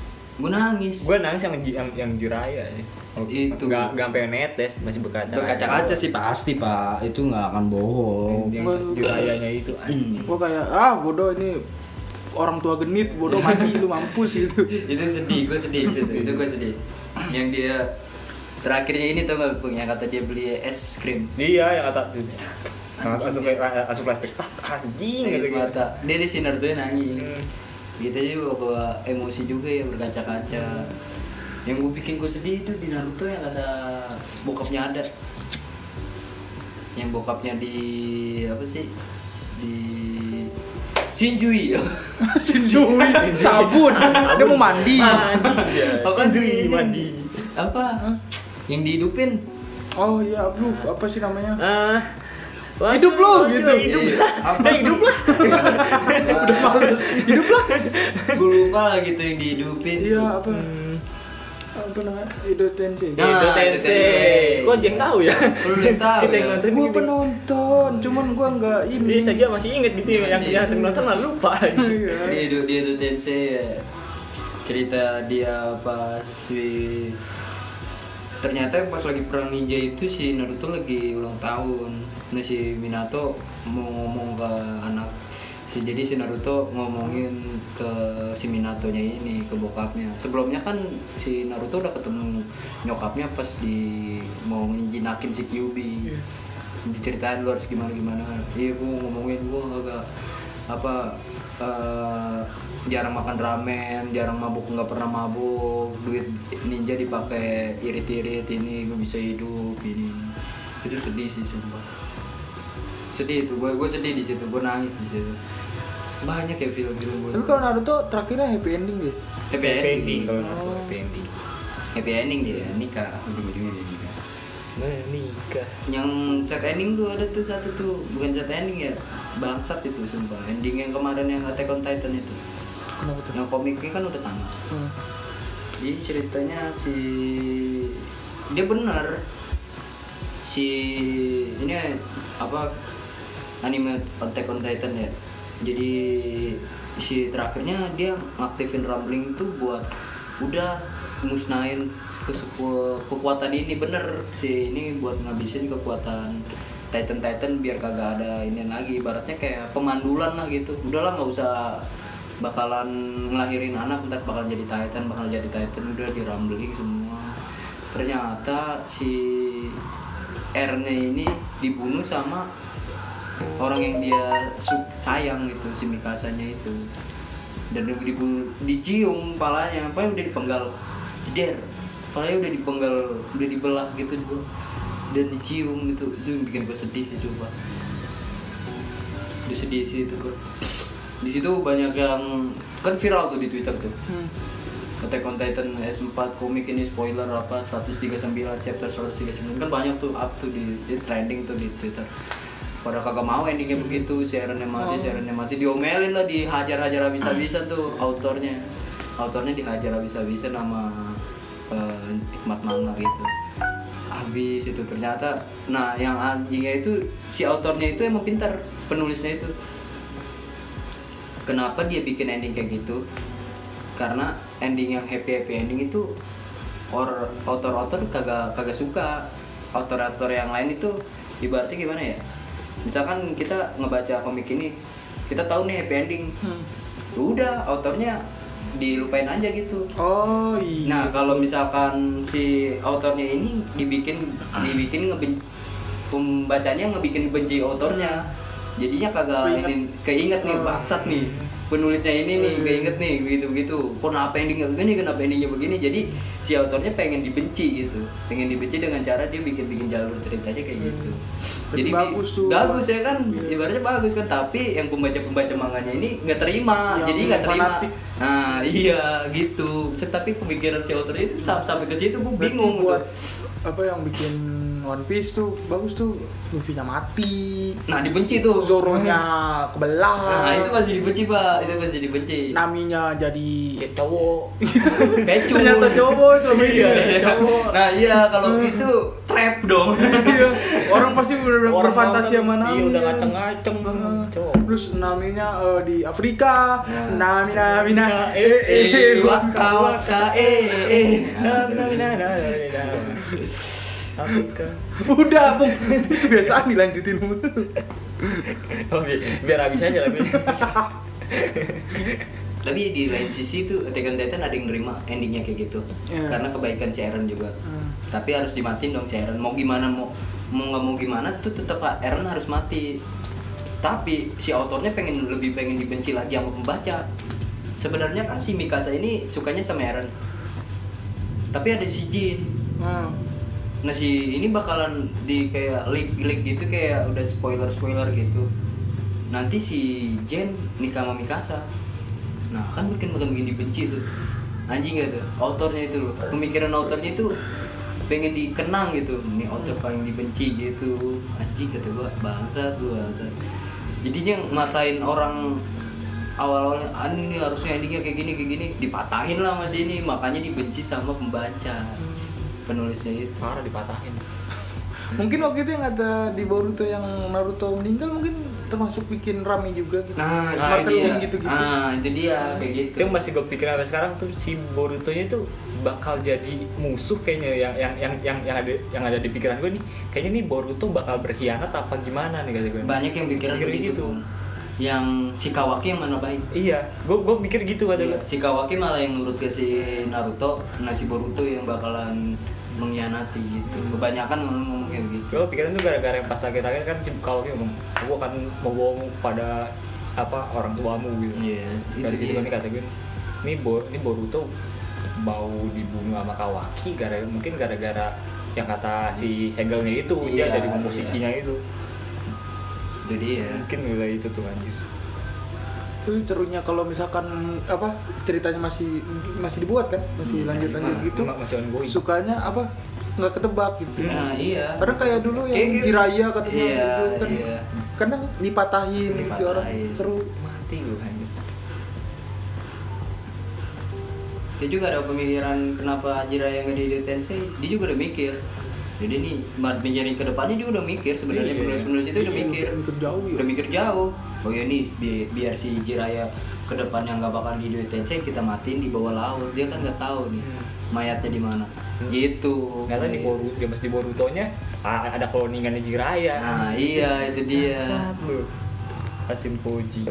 Speaker 1: Gue nangis.
Speaker 3: gue nangis yang yang yang jiraya ya.
Speaker 1: Itu.
Speaker 3: nggak nggak sampai netes masih berkaca
Speaker 1: Berkaca-kaca sih Oh. pasti, Pak. Itu nggak akan bohong.
Speaker 3: yang pas jirayanya itu
Speaker 1: Hmm.
Speaker 3: anjing.
Speaker 2: Gua kayak ah bodoh ini orang tua genit bodoh mati lu mampus gitu.
Speaker 1: itu sedih gue sedih itu, itu gue sedih yang dia terakhirnya ini tau gak punya kata dia beli es krim
Speaker 3: dia Iya, yang kata Nah, asup asup flashback tak anjing
Speaker 1: nangis
Speaker 3: gitu
Speaker 1: mata dia di sinar tuh nangis
Speaker 3: Hmm.
Speaker 1: gitu aja bawa, bawa emosi juga ya berkaca-kaca yang gue bikin gue sedih itu di Naruto yang ada bokapnya ada yang bokapnya di apa sih di Shinjui
Speaker 2: Sinjui sabun. Dia mau mandi.
Speaker 1: Ah.
Speaker 3: Mandi, ya.
Speaker 1: apa
Speaker 3: Shinjui,
Speaker 1: sih ini?
Speaker 3: mandi
Speaker 1: Iya. apa
Speaker 2: Hah?
Speaker 1: yang dihidupin
Speaker 2: Oh iya, lu apa sih namanya?
Speaker 3: ah waduh,
Speaker 2: Hidup lu,
Speaker 3: waduh,
Speaker 2: gitu.
Speaker 3: hidup
Speaker 1: Iya,
Speaker 3: lah
Speaker 1: apa
Speaker 3: Udah
Speaker 1: sih?
Speaker 3: hidup lah
Speaker 1: udah males hidup lah gue lupa lah gitu yang dihidupin
Speaker 2: Iya apa? Apa namanya? Ido Tensei.
Speaker 1: Nah,
Speaker 3: Edo
Speaker 1: Tensei.
Speaker 3: Tensei kok jeng tahu ya
Speaker 1: Lu belum tahu
Speaker 3: kita yang
Speaker 1: ya?
Speaker 3: nonton
Speaker 2: Gua
Speaker 3: gitu.
Speaker 2: penonton, cuman gua nggak ini.
Speaker 3: Ini saja masih inget gitu ya, yang
Speaker 1: Masih.
Speaker 3: yang nonton lah lupa.
Speaker 2: Iya.
Speaker 1: dia itu dia itu tensei ya. cerita dia pas si ternyata pas lagi perang ninja itu si Naruto lagi ulang tahun nah si Minato mau ngomong ke anak si jadi si Naruto ngomongin ke si Minatonya ini ke bokapnya sebelumnya kan si Naruto udah ketemu nyokapnya pas di mau ngijinakin si Kyubi
Speaker 2: Iya.
Speaker 1: diceritain lu harus gimana gimana iya gue ngomongin gue agak apa eh, jarang makan ramen jarang mabuk nggak pernah mabuk duit ninja dipakai irit-irit ini gue bisa hidup ini itu sedih sih sumpah sedih itu gue gue sedih di situ gue nangis di situ banyak ya film-film gue
Speaker 2: Tapi kalau Naruto terakhirnya happy ending deh.
Speaker 1: happy
Speaker 3: Happy ending
Speaker 1: ending
Speaker 3: kalau nonton happy ending.
Speaker 1: happy ending dia nikah ujung-ujungnya dia nikah
Speaker 3: Menikah.
Speaker 1: yang set ending tuh ada tuh satu tuh bukan set ending ya bangsat itu sumpah ending yang kemarin yang Attack on Titan itu
Speaker 2: Kenapa tuh?
Speaker 1: yang komiknya kan udah tamat
Speaker 2: Hmm.
Speaker 1: jadi ceritanya si dia bener si ini apa anime Attack on Titan ya jadi si terakhirnya dia ngaktifin rambling itu buat udah musnahin kesuku- kekuatan ini bener si ini buat ngabisin kekuatan Titan Titan biar kagak ada ini lagi ibaratnya kayak pemandulan lah gitu udahlah nggak usah bakalan ngelahirin anak ntar bakal jadi Titan bakal jadi Titan udah dirambling semua ternyata si R-nya ini dibunuh sama orang yang dia su- sayang gitu si Mikasanya itu dan dia dibunuh dicium palanya apa udah dipenggal jeder palanya udah dipenggal udah dibelah gitu gua dan dicium gitu itu yang bikin gue sedih sih sumpah Udah sedih sih itu gua di situ banyak yang kan viral tuh di Twitter tuh
Speaker 2: Hmm.
Speaker 1: Attack on Titan S4 komik ini spoiler apa 139 chapter 139 kan banyak tuh up tuh di, di trending tuh di Twitter. Pada kagak mau endingnya begitu, si Aaron yang mati, si Aaron yang mati diomelin lah dihajar-hajar habis-habisan tuh autornya. Autornya dihajar habis-habisan sama eh, nikmat manga gitu. Habis itu ternyata nah yang anjingnya itu si autornya itu emang pintar penulisnya itu kenapa dia bikin ending kayak gitu karena ending yang happy happy ending itu or author author kagak kagak suka author author yang lain itu ibaratnya gimana ya misalkan kita ngebaca komik ini kita tahu nih happy ending
Speaker 2: Hmm.
Speaker 1: udah autornya dilupain aja gitu
Speaker 2: Oh iya.
Speaker 1: Nah kalau misalkan si autornya ini dibikin
Speaker 2: Ah.
Speaker 1: dibikin ngeben pembacanya ngebikin benci autornya, jadinya kagak
Speaker 2: Keinget.
Speaker 1: ini keinget nih
Speaker 2: Oh.
Speaker 1: bangsat nih penulisnya ini nih
Speaker 2: Hmm.
Speaker 1: keinget nih gitu gitu. Kenapa endingnya begini? Kenapa endingnya begini? Jadi si autornya pengen dibenci gitu, pengen dibenci dengan cara dia bikin bikin jalur ceritanya kayak
Speaker 2: Hmm.
Speaker 1: gitu.
Speaker 2: Tapi
Speaker 1: Jadi bi-
Speaker 2: bagus tuh.
Speaker 1: bagus ya kan,
Speaker 2: Iya.
Speaker 1: ibaratnya bagus kan. Tapi yang pembaca pembaca manganya ini nggak terima,
Speaker 2: Yang
Speaker 1: jadi nggak terima.
Speaker 2: fanatik.
Speaker 1: Nah iya gitu. Se- Tapi pemikiran si author itu sam- sampai ke situ gue
Speaker 2: Berarti
Speaker 1: bingung
Speaker 2: buat
Speaker 1: gitu.
Speaker 2: apa yang bikin One Piece tuh bagus tuh Luffy-nya mati,
Speaker 1: Nah dibenci tuh.
Speaker 2: Zoro-nya kebelah,
Speaker 1: Nah itu masih dibenci pak, itu masih dibenci.
Speaker 2: Nah, Naminya jadi
Speaker 3: Ya cowok.
Speaker 1: Pecu.
Speaker 2: ternyata cowok Hmm. selama ini.
Speaker 1: Iya, Nah iya kalau gitu trap dong.
Speaker 2: Iya, orang pasti bener-bener berfantasi
Speaker 3: nonton,
Speaker 2: sama Nami.
Speaker 3: Iya udah ngaceng-ngaceng banget. Cowok.
Speaker 2: Terus naminya eh, di Afrika,
Speaker 1: Nah.
Speaker 2: Nami Nami Nami.
Speaker 3: Eh,
Speaker 1: Eh
Speaker 2: Iya,
Speaker 1: waka waka eh eh.
Speaker 3: Nah, nah, nah, nah, nah, nah. Afrika.
Speaker 2: Udah, Bung. Itu biasaan dilanjutin. Bung.
Speaker 3: Oh, bi- biar habis aja lagunya.
Speaker 1: Tapi di lain sisi tuh Attack on Titan ada yang nerima endingnya kayak gitu.
Speaker 2: Iya.
Speaker 1: Karena kebaikan si Eren juga.
Speaker 2: Hmm.
Speaker 1: tapi harus dimatiin dong si Eren mau gimana mau mau nggak mau gimana tuh tetap Eren harus mati tapi si autornya pengen lebih pengen dibenci lagi sama pembaca sebenarnya kan si Mikasa ini sukanya sama Eren tapi ada si Jin
Speaker 2: Hmm.
Speaker 1: nah si ini bakalan di kayak leak leak gitu kayak udah spoiler spoiler gitu nanti si Jen nikah sama Mikasa nah kan mungkin makin bikin dibenci tuh anjing gak tuh autornya itu loh pemikiran autornya itu pengen dikenang gitu ini author paling dibenci gitu anjing kata gua bangsat gua bangsat jadinya matain orang awal-awalnya "Ah, ini harusnya endingnya kayak gini kayak gini dipatahin lah masih ini makanya dibenci sama pembaca penulisnya itu
Speaker 3: Parah dipatahin.
Speaker 2: Mungkin waktu itu yang ada di Boruto yang Naruto meninggal mungkin termasuk bikin rame juga gitu.
Speaker 1: Nah,
Speaker 3: Nah,
Speaker 1: itu dia.
Speaker 2: marketing gitu-gitu.
Speaker 1: Nah, itu dia kayak gitu.
Speaker 3: Itu yang masih gue pikirin sampai sekarang tuh si Boruto nya tuh bakal jadi musuh kayaknya yang yang yang yang yang ada yang ada di pikiran gue nih kayaknya nih Boruto bakal berkhianat apa gimana nih kata gue
Speaker 1: Banyak yang pikiran
Speaker 3: Pikirin
Speaker 1: begitu.
Speaker 3: gitu.
Speaker 1: Bung. Yang si Kawaki yang mana baik?
Speaker 3: iya gue gue pikir gitu kata
Speaker 1: Iya,
Speaker 3: gue
Speaker 1: Si Kawaki malah yang nurut ke si Naruto, nah si Boruto yang bakalan mengkhianati gitu. Kebanyakan ngomong kayak gitu.
Speaker 3: gue pikiran tuh gara-gara pas akhir-akhir kan si kalau ngomong gue akan membohong pada apa orang tuamu gitu
Speaker 1: Iya, itu
Speaker 3: dari situ
Speaker 1: dia.
Speaker 3: kan kata gue ini Bo- ini Boruto bau di bunga sama Kawaki gara mungkin gara-gara yang kata si segelnya itu
Speaker 1: Iya,
Speaker 3: dia dari memusikinya itu
Speaker 1: Jadi ya.
Speaker 3: mungkin gila itu tuh anjir
Speaker 2: Itu serunya kalau misalkan apa ceritanya masih masih dibuat kan, masih
Speaker 1: Hmm,
Speaker 2: lanjut-lanjut
Speaker 1: masih-
Speaker 2: gitu.
Speaker 3: masih ongoing
Speaker 2: Sukanya apa? nggak ketebak gitu.
Speaker 1: Nah, iya.
Speaker 2: Karena kayak dulu yang
Speaker 1: Kayak gitu.
Speaker 2: Jiraya katanya
Speaker 1: Iya,
Speaker 2: dulu kan
Speaker 1: iya.
Speaker 2: kadang dipatahin, gitu orang
Speaker 1: Dipatahin.
Speaker 2: seru.
Speaker 3: mati lu anjir
Speaker 1: dia juga ada pemikiran kenapa Jiraiya nggak di Dead Tensei dia juga udah mikir jadi nih buat mikirin ke depannya dia udah mikir sebenarnya
Speaker 3: Iya.
Speaker 1: penulis-penulis itu udah
Speaker 2: Iya,
Speaker 1: mikir
Speaker 2: udah mikir jauh ya.
Speaker 1: udah mikir jauh oh ya nih bi- biar si Jiraiya ke depan yang nggak bakal di Dead Tensei kita matiin di bawah laut dia kan nggak tahu nih
Speaker 3: Hmm.
Speaker 1: mayatnya di mana
Speaker 3: Hmm.
Speaker 1: gitu
Speaker 3: ternyata di Boru dia masih di Boruto nya ada kloningannya Jiraya
Speaker 1: nah iya itu dia
Speaker 3: Bangsat lu Hasil Fuji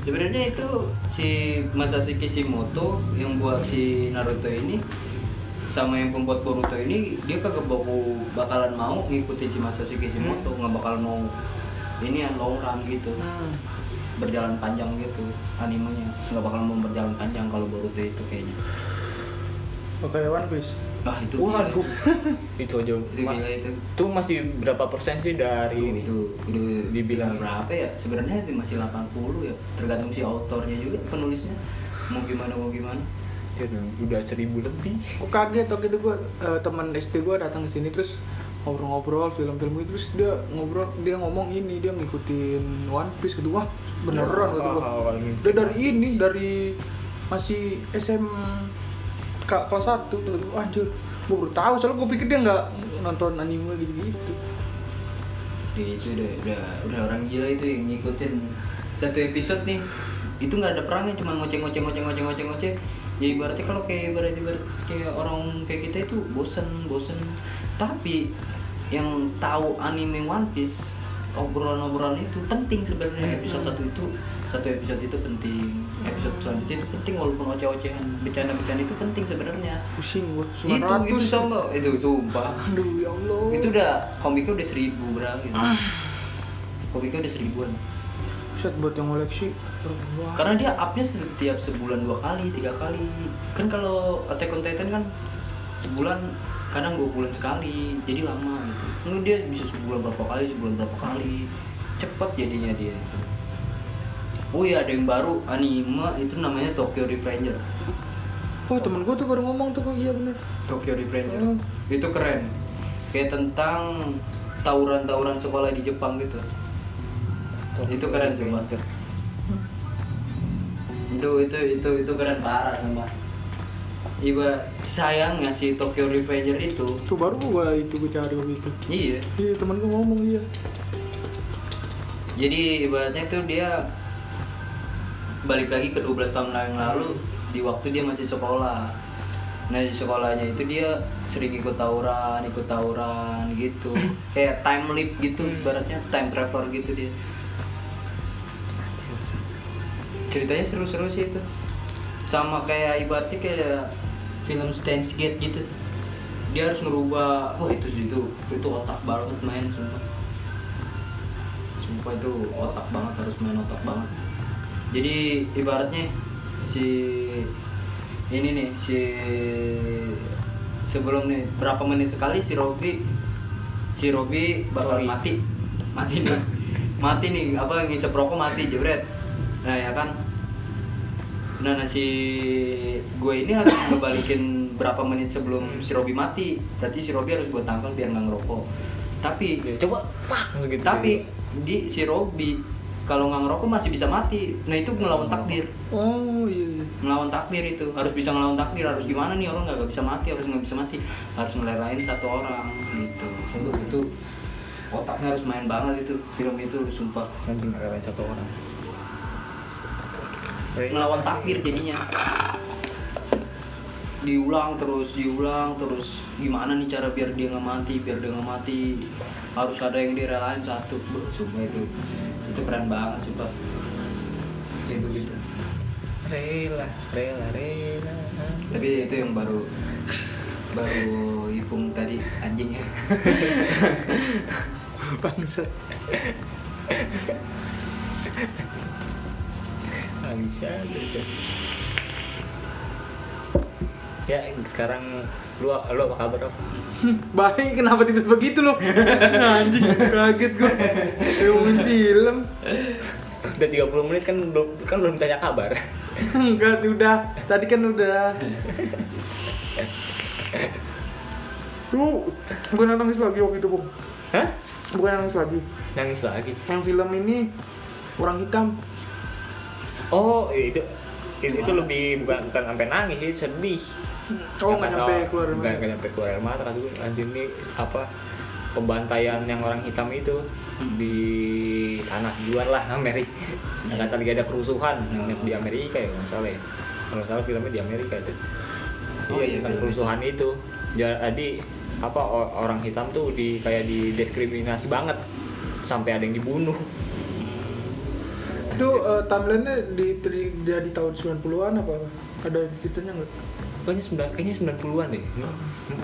Speaker 1: sebenarnya itu si Masashi Kishimoto yang buat si Naruto ini sama yang pembuat Boruto ini dia kagak baku bakalan mau ngikutin si Masashi
Speaker 3: Hmm.
Speaker 1: Kishimoto nggak bakal mau ini yang long run gitu
Speaker 2: Hmm.
Speaker 1: berjalan panjang gitu animenya nggak bakal mau berjalan panjang kalau Boruto itu kayaknya
Speaker 2: Oke, One Piece.
Speaker 1: ah itu gila.
Speaker 3: Waduh, itu aja.
Speaker 1: itu
Speaker 3: Ma-
Speaker 1: gila itu
Speaker 3: Itu masih berapa persen sih
Speaker 1: Aduh,
Speaker 3: dari
Speaker 1: itu udah
Speaker 3: Dibilang.
Speaker 1: berapa ya sebenarnya itu masih 80 ya tergantung si autornya juga penulisnya mau gimana mau gimana
Speaker 3: Ya, udah seribu lebih.
Speaker 2: Aku kaget waktu itu eh, gue teman SD gue datang ke sini terus ngobrol-ngobrol film-film itu terus dia ngobrol dia ngomong ini dia ngikutin One Piece gitu wah beneran gitu gue
Speaker 3: Wah, paling
Speaker 2: dia dari ini dari masih SM kak kelas satu gitu Wah, anjir gue baru tahu soalnya gue pikir dia nggak nonton anime gitu-gitu
Speaker 1: Ya, itu udah, udah udah orang gila itu yang ngikutin satu episode nih itu nggak ada perangnya cuma ngoceh ngoceh ngoceh ngoceh ngoceh ngoceh ya ibaratnya kalau kayak ibarat ibarat kayak orang kayak kita itu bosen bosen tapi yang tahu anime One Piece obrolan-obrolan itu penting sebenarnya episode satu itu satu episode itu penting episode selanjutnya itu penting walaupun oceh-ocehan bercanda-bercanda itu penting sebenarnya
Speaker 2: pusing gua
Speaker 1: itu itu sama itu sumpah
Speaker 2: aduh ya Allah
Speaker 1: itu udah komiknya udah seribu berapa gitu komiknya udah seribuan
Speaker 2: set buat yang koleksi Wah.
Speaker 1: karena dia upnya setiap sebulan dua kali tiga kali kan kalau Attack on Titan kan sebulan kadang dua bulan sekali jadi lama gitu Ini dia bisa sebulan berapa kali sebulan berapa kali cepet jadinya dia itu oh iya ada yang baru anime itu namanya Tokyo Revenger
Speaker 2: Wah temen gue tuh baru ngomong tuh kok iya bener
Speaker 1: Tokyo Revenger
Speaker 2: Hmm.
Speaker 1: itu keren kayak tentang tawuran-tawuran sekolah di Jepang gitu itu keren coba itu itu itu itu keren parah sumpah iba sayangnya si Tokyo Revenger itu
Speaker 2: Tuh baru gue itu gue cari waktu itu
Speaker 1: iya
Speaker 2: Iya temen gue ngomong iya
Speaker 1: jadi ibaratnya tuh dia balik lagi ke 12 tahun yang lalu di waktu dia masih sekolah nah di sekolahnya itu dia sering ikut tawuran ikut tawuran gitu kayak time leap gitu
Speaker 3: Hmm.
Speaker 1: ibaratnya time traveler gitu dia ceritanya seru-seru sih itu sama kayak ibaratnya kayak film Steins Gate gitu dia harus ngerubah wah itu sih, itu itu otak banget main sumpah sumpah itu otak banget harus main otak banget jadi ibaratnya si ini nih si sebelum nih berapa menit sekali si Robi si Robi bakal
Speaker 3: Robi.
Speaker 1: mati mati nih mati nih apa ngisep rokok mati jebret nah ya kan nah, nah si gue ini harus ngebalikin berapa menit sebelum si Robi mati berarti si Robi harus gue tangkal biar nggak ngerokok tapi
Speaker 3: Ya, coba pak gitu
Speaker 1: tapi di si Robi kalau nggak ngerokok masih bisa mati. Nah itu ngelawan takdir,
Speaker 2: Oh iya iya
Speaker 1: ngelawan takdir itu harus bisa ngelawan takdir. Harus gimana nih orang nggak nggak bisa mati, harus nggak bisa mati, harus ngelerain satu orang gitu. Itu, itu otaknya harus main banget itu film itu sumpah
Speaker 3: nanti ngelawan satu orang
Speaker 1: ngelawan takdir jadinya diulang terus diulang terus gimana nih cara biar dia nggak mati biar dia nggak mati harus ada yang direlain satu Beuh, sumpah itu itu keren banget sumpah kayak begitu
Speaker 3: rela rela rela
Speaker 1: tapi itu yang baru baru ipung tadi ya. anjingnya
Speaker 2: Bangsa
Speaker 3: Nggak bisa gitu. ya sekarang lu lu apa kabar Rob?
Speaker 2: Baik kenapa tipis begitu loh Anjing kaget gue Ngomongin film
Speaker 3: udah 30 menit kan belum kan belum tanya kabar
Speaker 2: Enggak udah Tadi kan udah Tuh Bukan nangis lagi waktu itu Bung
Speaker 3: hah
Speaker 2: Bukan nangis lagi
Speaker 3: nangis lagi
Speaker 2: Yang film ini Orang hitam
Speaker 3: oh itu itu, itu
Speaker 1: Wah.
Speaker 3: lebih bukan bukan sampai nangis sih sedih
Speaker 2: Oh nggak
Speaker 3: Karena
Speaker 2: nyampe
Speaker 3: kalau-
Speaker 2: keluar
Speaker 3: Hmm. nggak nggak nyampe keluar air mata kata gue anjir ini apa pembantaian yang orang hitam itu
Speaker 2: Hmm.
Speaker 3: di sana di luar lah Amerika nggak tahu lagi ada kerusuhan
Speaker 2: Hmm.
Speaker 1: Iya.
Speaker 3: di Amerika ya nggak salah ya kalau nggak salah filmnya di Amerika itu
Speaker 1: Oh, iya,
Speaker 3: iya tentang
Speaker 1: film
Speaker 3: kerusuhan itu jadi apa o- orang hitam tuh di kayak didiskriminasi banget sampai ada yang dibunuh
Speaker 2: Itu eh, timelinenya di, di, dari tahun 90-an apa? Ada ceritanya nggak?
Speaker 3: kayaknya sembilan kayaknya sembilan puluhan deh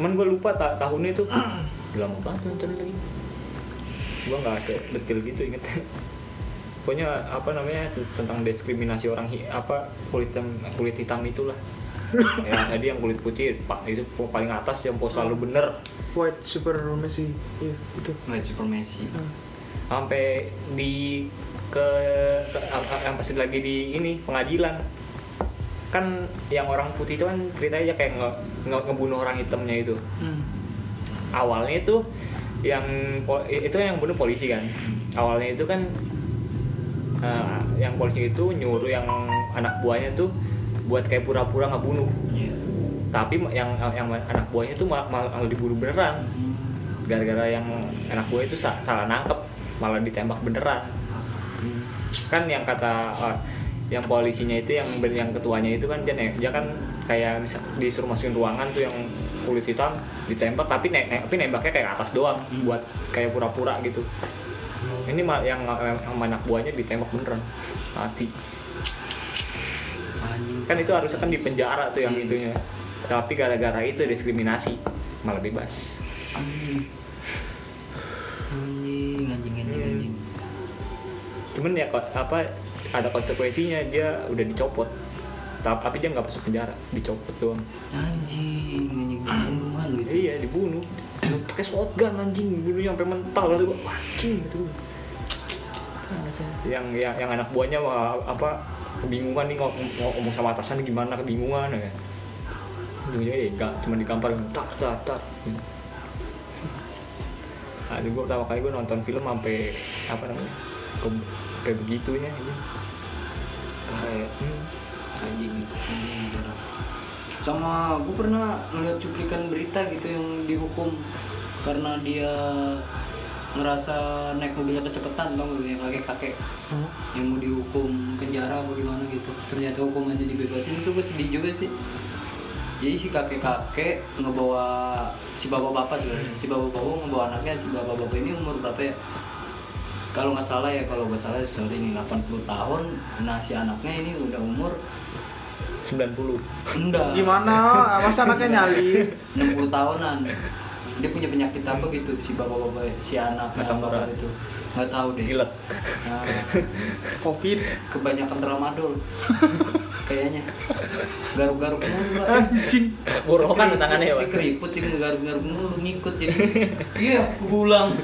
Speaker 3: cuman gue lupa ta- tahunnya itu udah lama banget nonton lagi gue nggak detail gitu inget pokoknya apa namanya tentang diskriminasi orang hi- apa kulit hitam kulit hitam itulah ya tadi yang kulit putih pak itu po- paling atas yang pos selalu bener
Speaker 2: White Supremacy Iya itu
Speaker 1: nggak supermesi
Speaker 2: Nah.
Speaker 3: sampai di ke ke- apa- yang pasti lagi di ini pengadilan kan yang orang putih itu kan ceritanya kayak nge- nge- ngebunuh orang hitamnya itu
Speaker 2: Hmm.
Speaker 3: awalnya itu yang po- itu yang bunuh polisi kan awalnya itu kan eh, yang polisi itu nyuruh yang anak buahnya tuh buat kayak pura-pura nggak bunuh
Speaker 1: Iya.
Speaker 3: tapi yang yang anak buahnya tuh mal- mal- malah dibunuh beneran gara-gara yang anak buah itu sa- salah nangkep malah ditembak beneran kan yang kata eh, yang polisinya itu yang ben- yang ketuanya itu kan dia ne- dia kan kayak bisa disuruh masukin ruangan tuh yang kulit hitam ditembak tapi ne- ne- tapi nembaknya kayak ke atas doang
Speaker 1: Hmm.
Speaker 3: buat kayak pura-pura gitu ini mah yang yang anak buahnya ditembak beneran mati kan itu harusnya kan di penjara tuh yang
Speaker 1: Iya.
Speaker 3: itunya tapi gara-gara itu diskriminasi malah bebas
Speaker 1: anjing anjing anjing anjing
Speaker 3: Hmm.
Speaker 1: anjing
Speaker 3: cuman ya ko- apa ada konsekuensinya dia udah dicopot Ta- tapi dia nggak masuk penjara dicopot doang
Speaker 1: anjing anjing pembunuhan lu itu
Speaker 3: iya dibunuh Lu pakai shotgun anjing dibunuh sampai mental gitu gua anjing gitu yang, yang yang anak buahnya wah, apa kebingungan nih ngomong, ngomong sama atasan gimana kebingungan ya ujungnya ya enggak cuma digampar tak tak tak aduh gue pertama kali gue nonton film sampai apa namanya ke, sampai begitunya ini kayak hmm,
Speaker 1: anjing itu anjing parah. sama gue pernah ngeliat cuplikan berita gitu yang dihukum karena dia ngerasa naik mobilnya kecepatan dong yang kakek kakek
Speaker 2: Hmm.
Speaker 1: yang mau dihukum penjara apa gimana gitu ternyata hukumannya dibebasin itu gue sedih juga sih jadi si kakek kakek ngebawa si bapak bapak sebenarnya si bapak bapak ngebawa anaknya si bapak bapak ini umur berapa ya kalau nggak salah ya kalau nggak salah sorry ini 80 tahun nah si anaknya ini udah umur
Speaker 3: 90
Speaker 1: enggak
Speaker 2: Gimana? Masa anaknya nyali?
Speaker 1: 60 tahunan dia punya penyakit apa gitu si bapak bapak si anak
Speaker 3: Asam
Speaker 1: bapak
Speaker 3: urat.
Speaker 1: itu nggak tahu deh
Speaker 3: gila
Speaker 1: Nah,
Speaker 2: Covid.
Speaker 1: kebanyakan tramadol kayaknya garuk-garuk mulu lah
Speaker 2: Anjing.
Speaker 3: borokan
Speaker 2: kan
Speaker 3: tangannya ya Wan.
Speaker 1: dikeriput ini garuk-garuk mulu ngikut jadi iya pulang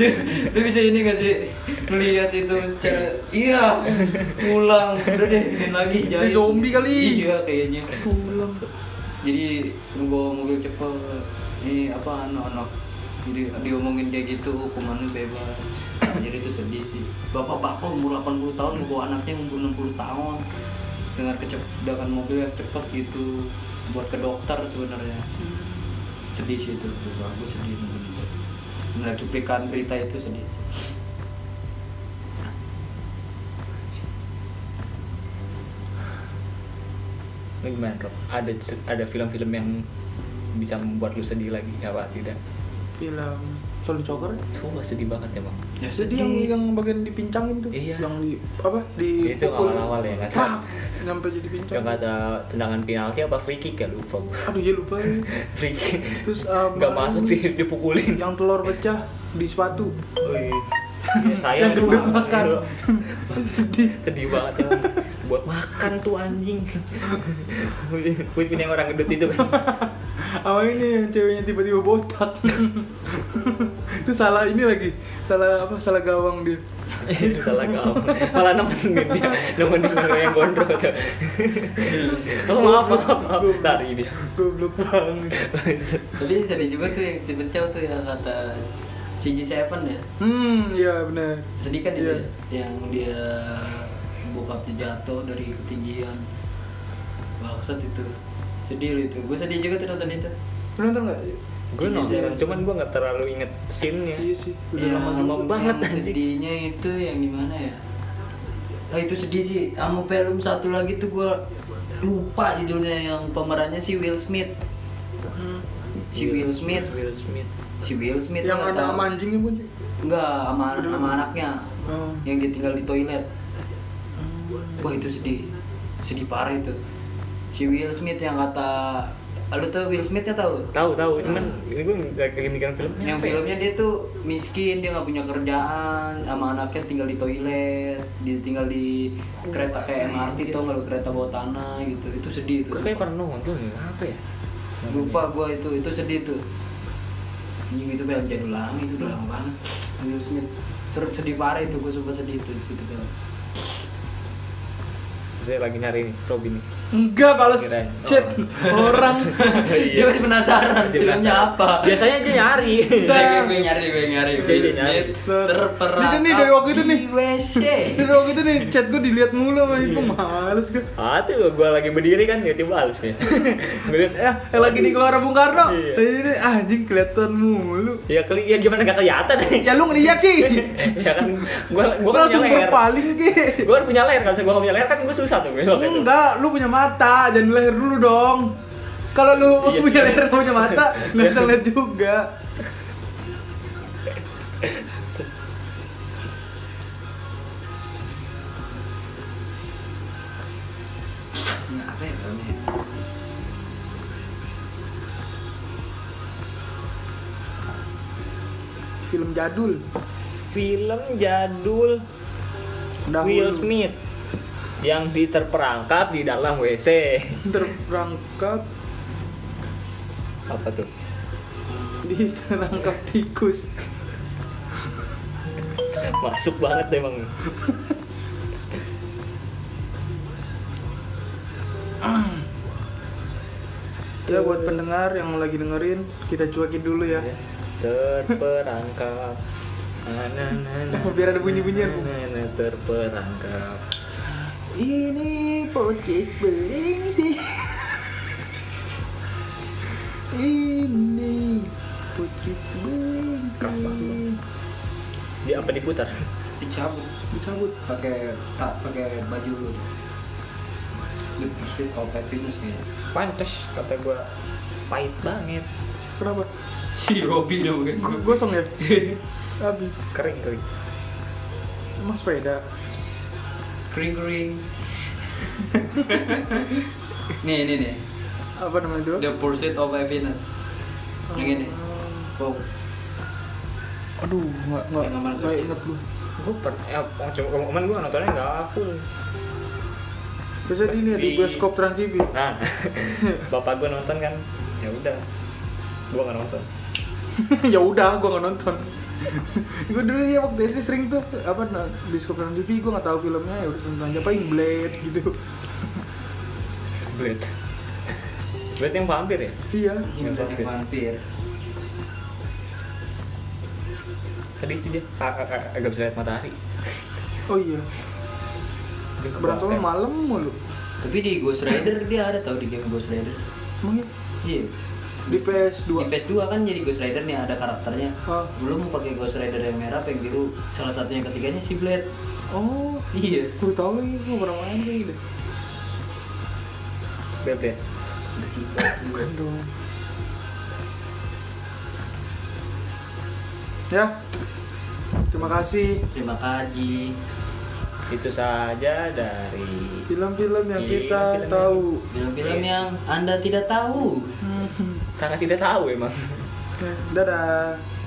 Speaker 1: dia, dia bisa ini gak sih melihat itu cara iya pulang udah deh main lagi
Speaker 2: Dia zombie kali.
Speaker 1: iya kayaknya pulang jadi bawa mobil cepet ini apa anak-anak jadi diomongin kayak gitu hukumannya bebas Nah, jadi itu sedih sih bapak-bapak umur 80 tahun ngebawa anaknya umur 60 tahun dengan kecep dengan mobil yang cepet gitu buat ke dokter sebenarnya sedih sih itu bagus sedih bener-bener. melihat cuplikan berita itu sedih
Speaker 3: Lu gimana Rob? Ada ada film-film yang bisa membuat lu sedih lagi apa tidak?
Speaker 2: Film Solo Joker.
Speaker 3: Sumpah sedih banget ya bang.
Speaker 1: ya
Speaker 2: Jadi yang yang bagian dipincangin tuh,
Speaker 3: Iya.
Speaker 2: yang di apa di
Speaker 3: Itu awal-awal ya, nggak tahu.
Speaker 2: Tak, nyampe jadi pincang.
Speaker 3: Yang ada tendangan penalti apa free kick ya lupa. gua.
Speaker 2: Aduh ya lupa. ya.
Speaker 3: Free kick.
Speaker 2: Terus apa
Speaker 3: Gak masuk
Speaker 2: ini?
Speaker 3: di, dipukulin.
Speaker 2: Yang telur pecah di sepatu.
Speaker 3: Oh, iya. Ya,
Speaker 2: yang
Speaker 3: saya
Speaker 2: gendut
Speaker 3: makan.
Speaker 2: makan.
Speaker 3: Iya.
Speaker 2: Sedih.
Speaker 3: Sedih banget ya. Bang. Buat makan tuh anjing. Buat punya orang gendut itu kan.
Speaker 2: Apa ini yang ceweknya tiba-tiba botak? itu salah ini lagi. Salah apa? Salah gawang dia.
Speaker 3: itu salah kau. Malah nemenin dia, nemenin orang yang gondrong tuh. Oh, maaf, maaf, maaf. Tari dia.
Speaker 2: Goblok banget.
Speaker 1: tapi sedih juga tuh yang Steven Chow tuh yang kata CG7 ya
Speaker 2: Hmm, iya benar.
Speaker 1: sedih kan
Speaker 2: Iya.
Speaker 1: itu ya, yang dia bokapnya jatuh dari ketinggian bangsat itu sedih lu itu gue sedih juga tuh nonton itu
Speaker 2: Lu nonton enggak?
Speaker 3: gue
Speaker 1: Jadi
Speaker 3: nonton
Speaker 1: saya-
Speaker 3: cuman gue nggak terlalu inget scene-nya
Speaker 2: Iya sih. Udah
Speaker 1: yang,
Speaker 2: lama
Speaker 3: lama banget,
Speaker 1: yang
Speaker 3: anjing.
Speaker 1: sedihnya itu yang gimana ya nah itu sedih sih sama film satu lagi tuh gue lupa judulnya yang pemerannya si Will Smith
Speaker 2: Hmm.
Speaker 1: Iya, si Will Smith
Speaker 3: Iya, Will Smith
Speaker 1: si Will Smith
Speaker 2: yang
Speaker 1: nggak
Speaker 2: ada
Speaker 1: tahu.
Speaker 2: sama anjingnya pun sih.
Speaker 1: enggak sama,
Speaker 2: Belum.
Speaker 1: sama anaknya
Speaker 3: Hmm.
Speaker 2: Oh.
Speaker 1: yang dia tinggal di toilet Wah itu sedih, sedih parah itu. Si Will Smith yang kata, lu tuh Will Smithnya tau?
Speaker 3: tahu tahu cuman ini gue lagi mikirin filmnya
Speaker 1: Yang
Speaker 3: apa ya?
Speaker 1: filmnya dia tuh miskin, dia nggak punya kerjaan, sama anaknya tinggal di toilet, dia tinggal di kereta kayak MRT tau nggak lu, kereta bawah tanah gitu. Itu sedih itu.
Speaker 3: gue Iya. kayak pernah nonton ya. apa ya Namanya.
Speaker 1: Lupa gua itu, itu sedih tuh. Anjing itu film jadul lama itu udah lama banget. Will Smith Ser- sedih parah itu, gua sumpah sedih itu di situ film.
Speaker 3: saya lagi nyari nih Robin nih
Speaker 2: Enggak, balas
Speaker 3: Kirain. Oh.
Speaker 2: chat orang.
Speaker 1: Dia Iya. masih penasaran
Speaker 3: Masih
Speaker 1: filmnya
Speaker 3: penasaran.
Speaker 1: apa.
Speaker 3: biasanya dia nyari
Speaker 1: Gue gue nyari, gue nyari,
Speaker 3: Jadi
Speaker 1: gue
Speaker 3: dia nyari.
Speaker 1: nyari. Terperangkap
Speaker 2: Ini nih, dari waktu itu nih.
Speaker 1: di WC.
Speaker 2: Terus waktu itu gitu nih chat gue dilihat mulu sama ibu
Speaker 3: Iya.
Speaker 2: males gue.
Speaker 3: ah tuh gue lagi berdiri kan tiba-tiba halus ya gue liat
Speaker 2: Eh, eh, lagi di Gelora Bung Karno.
Speaker 3: Iya.
Speaker 2: Tadi ini ah, anjing kelihatan mulu.
Speaker 3: ya keli ya gimana gak kelihatan
Speaker 2: Ya lu ngeliat sih.
Speaker 3: ya kan gue
Speaker 2: Gue
Speaker 3: gue punya
Speaker 2: langsung
Speaker 3: layar
Speaker 2: berpaling ke.
Speaker 3: gue punya layar kalau saya gue punya layar kan gue susah tuh besok itu
Speaker 2: Enggak, lu punya mata, jangan leher dulu dong. Kalau lu
Speaker 3: Iya
Speaker 2: punya
Speaker 3: sih.
Speaker 2: leher nggak punya mata, nggak bisa lihat juga.
Speaker 1: Ini apa ya filmnya ya?
Speaker 2: Film jadul.
Speaker 3: Film jadul Will Smith yang diterperangkap di dalam WC.
Speaker 2: terperangkap
Speaker 3: Apa tuh?
Speaker 2: diterangkap tikus.
Speaker 3: Masuk banget emang.
Speaker 2: Ya buat pendengar yang lagi dengerin, kita cuekin dulu ya.
Speaker 3: Iya. Terperangkap. Na, na, na, na,
Speaker 2: Biar ada bunyi-bunyian, Bu.
Speaker 3: na, na, na, terperangkap.
Speaker 2: Ini podcast berisi. Ini podcast berisi.
Speaker 3: Keras banget, Bang. Di apa diputar?
Speaker 1: Dicabut
Speaker 2: Dicabut.
Speaker 1: pakai tak pakai baju lu. Lip sweet all happiness kayaknya.
Speaker 3: Pantes kata gua pahit banget.
Speaker 2: Kenapa?
Speaker 1: Si Robi dong guys.
Speaker 2: Gu- Gosong ya? Habis.
Speaker 3: Kering kering.
Speaker 2: Mas sepeda.
Speaker 1: Kering kering. nih nih nih.
Speaker 2: Apa namanya itu?
Speaker 1: The Pursuit of Happiness.
Speaker 2: Oh.
Speaker 1: Yang ini. Wow.
Speaker 2: Aduh, nggak nggak
Speaker 1: Yang gambar
Speaker 2: nggak
Speaker 1: kecil.
Speaker 2: inget lu.
Speaker 3: Gua per eh coba kemarin gua nontonnya nggak full.
Speaker 2: Biasa di ini ya, di
Speaker 3: Di-
Speaker 2: bioskop Trans TV.
Speaker 3: Nah, bapak gua nonton kan. Ya udah. Gua nggak nonton.
Speaker 2: ya udah, gua nggak nonton. gue dulu ya waktu SD sering tuh apa nah, bioskop Trans TV gue nggak tahu filmnya ya udah nonton aja paling Blade gitu.
Speaker 3: Blade. Blade yang vampir ya?
Speaker 2: Iya.
Speaker 1: Ini detektif vampir.
Speaker 3: Tadi itu dia A- a- a- agak bisa lihat matahari.
Speaker 2: Oh iya.
Speaker 3: Dia ke
Speaker 2: Berantemnya
Speaker 3: bawah,
Speaker 2: malam mulu.
Speaker 1: Tapi di Ghost Rider dia ada tau di game Ghost Rider.
Speaker 2: Emang ya?
Speaker 1: Iya.
Speaker 2: Di PS2.
Speaker 1: Di PS2 kan jadi Ghost Rider nih ada karakternya.
Speaker 2: Oh.
Speaker 1: Belum mau pakai Ghost Rider yang merah, apa yang biru. Salah satunya ketiganya si Blade.
Speaker 2: Oh,
Speaker 1: Iya.
Speaker 2: gue tau lagi gue pernah main tuh gitu.
Speaker 3: eh. Blade, Blade.
Speaker 1: Ada si Blade juga.
Speaker 2: Bukan dong. Ya. Terima kasih
Speaker 1: Terima kasih.
Speaker 3: Itu saja dari
Speaker 2: film-film yang
Speaker 3: Iya,
Speaker 2: kita
Speaker 3: film-film.
Speaker 2: tahu.
Speaker 1: Film-film
Speaker 3: Iya.
Speaker 1: yang Anda tidak tahu.
Speaker 2: Hmm.
Speaker 3: karena tidak tahu emang.
Speaker 2: Ya, Dadah.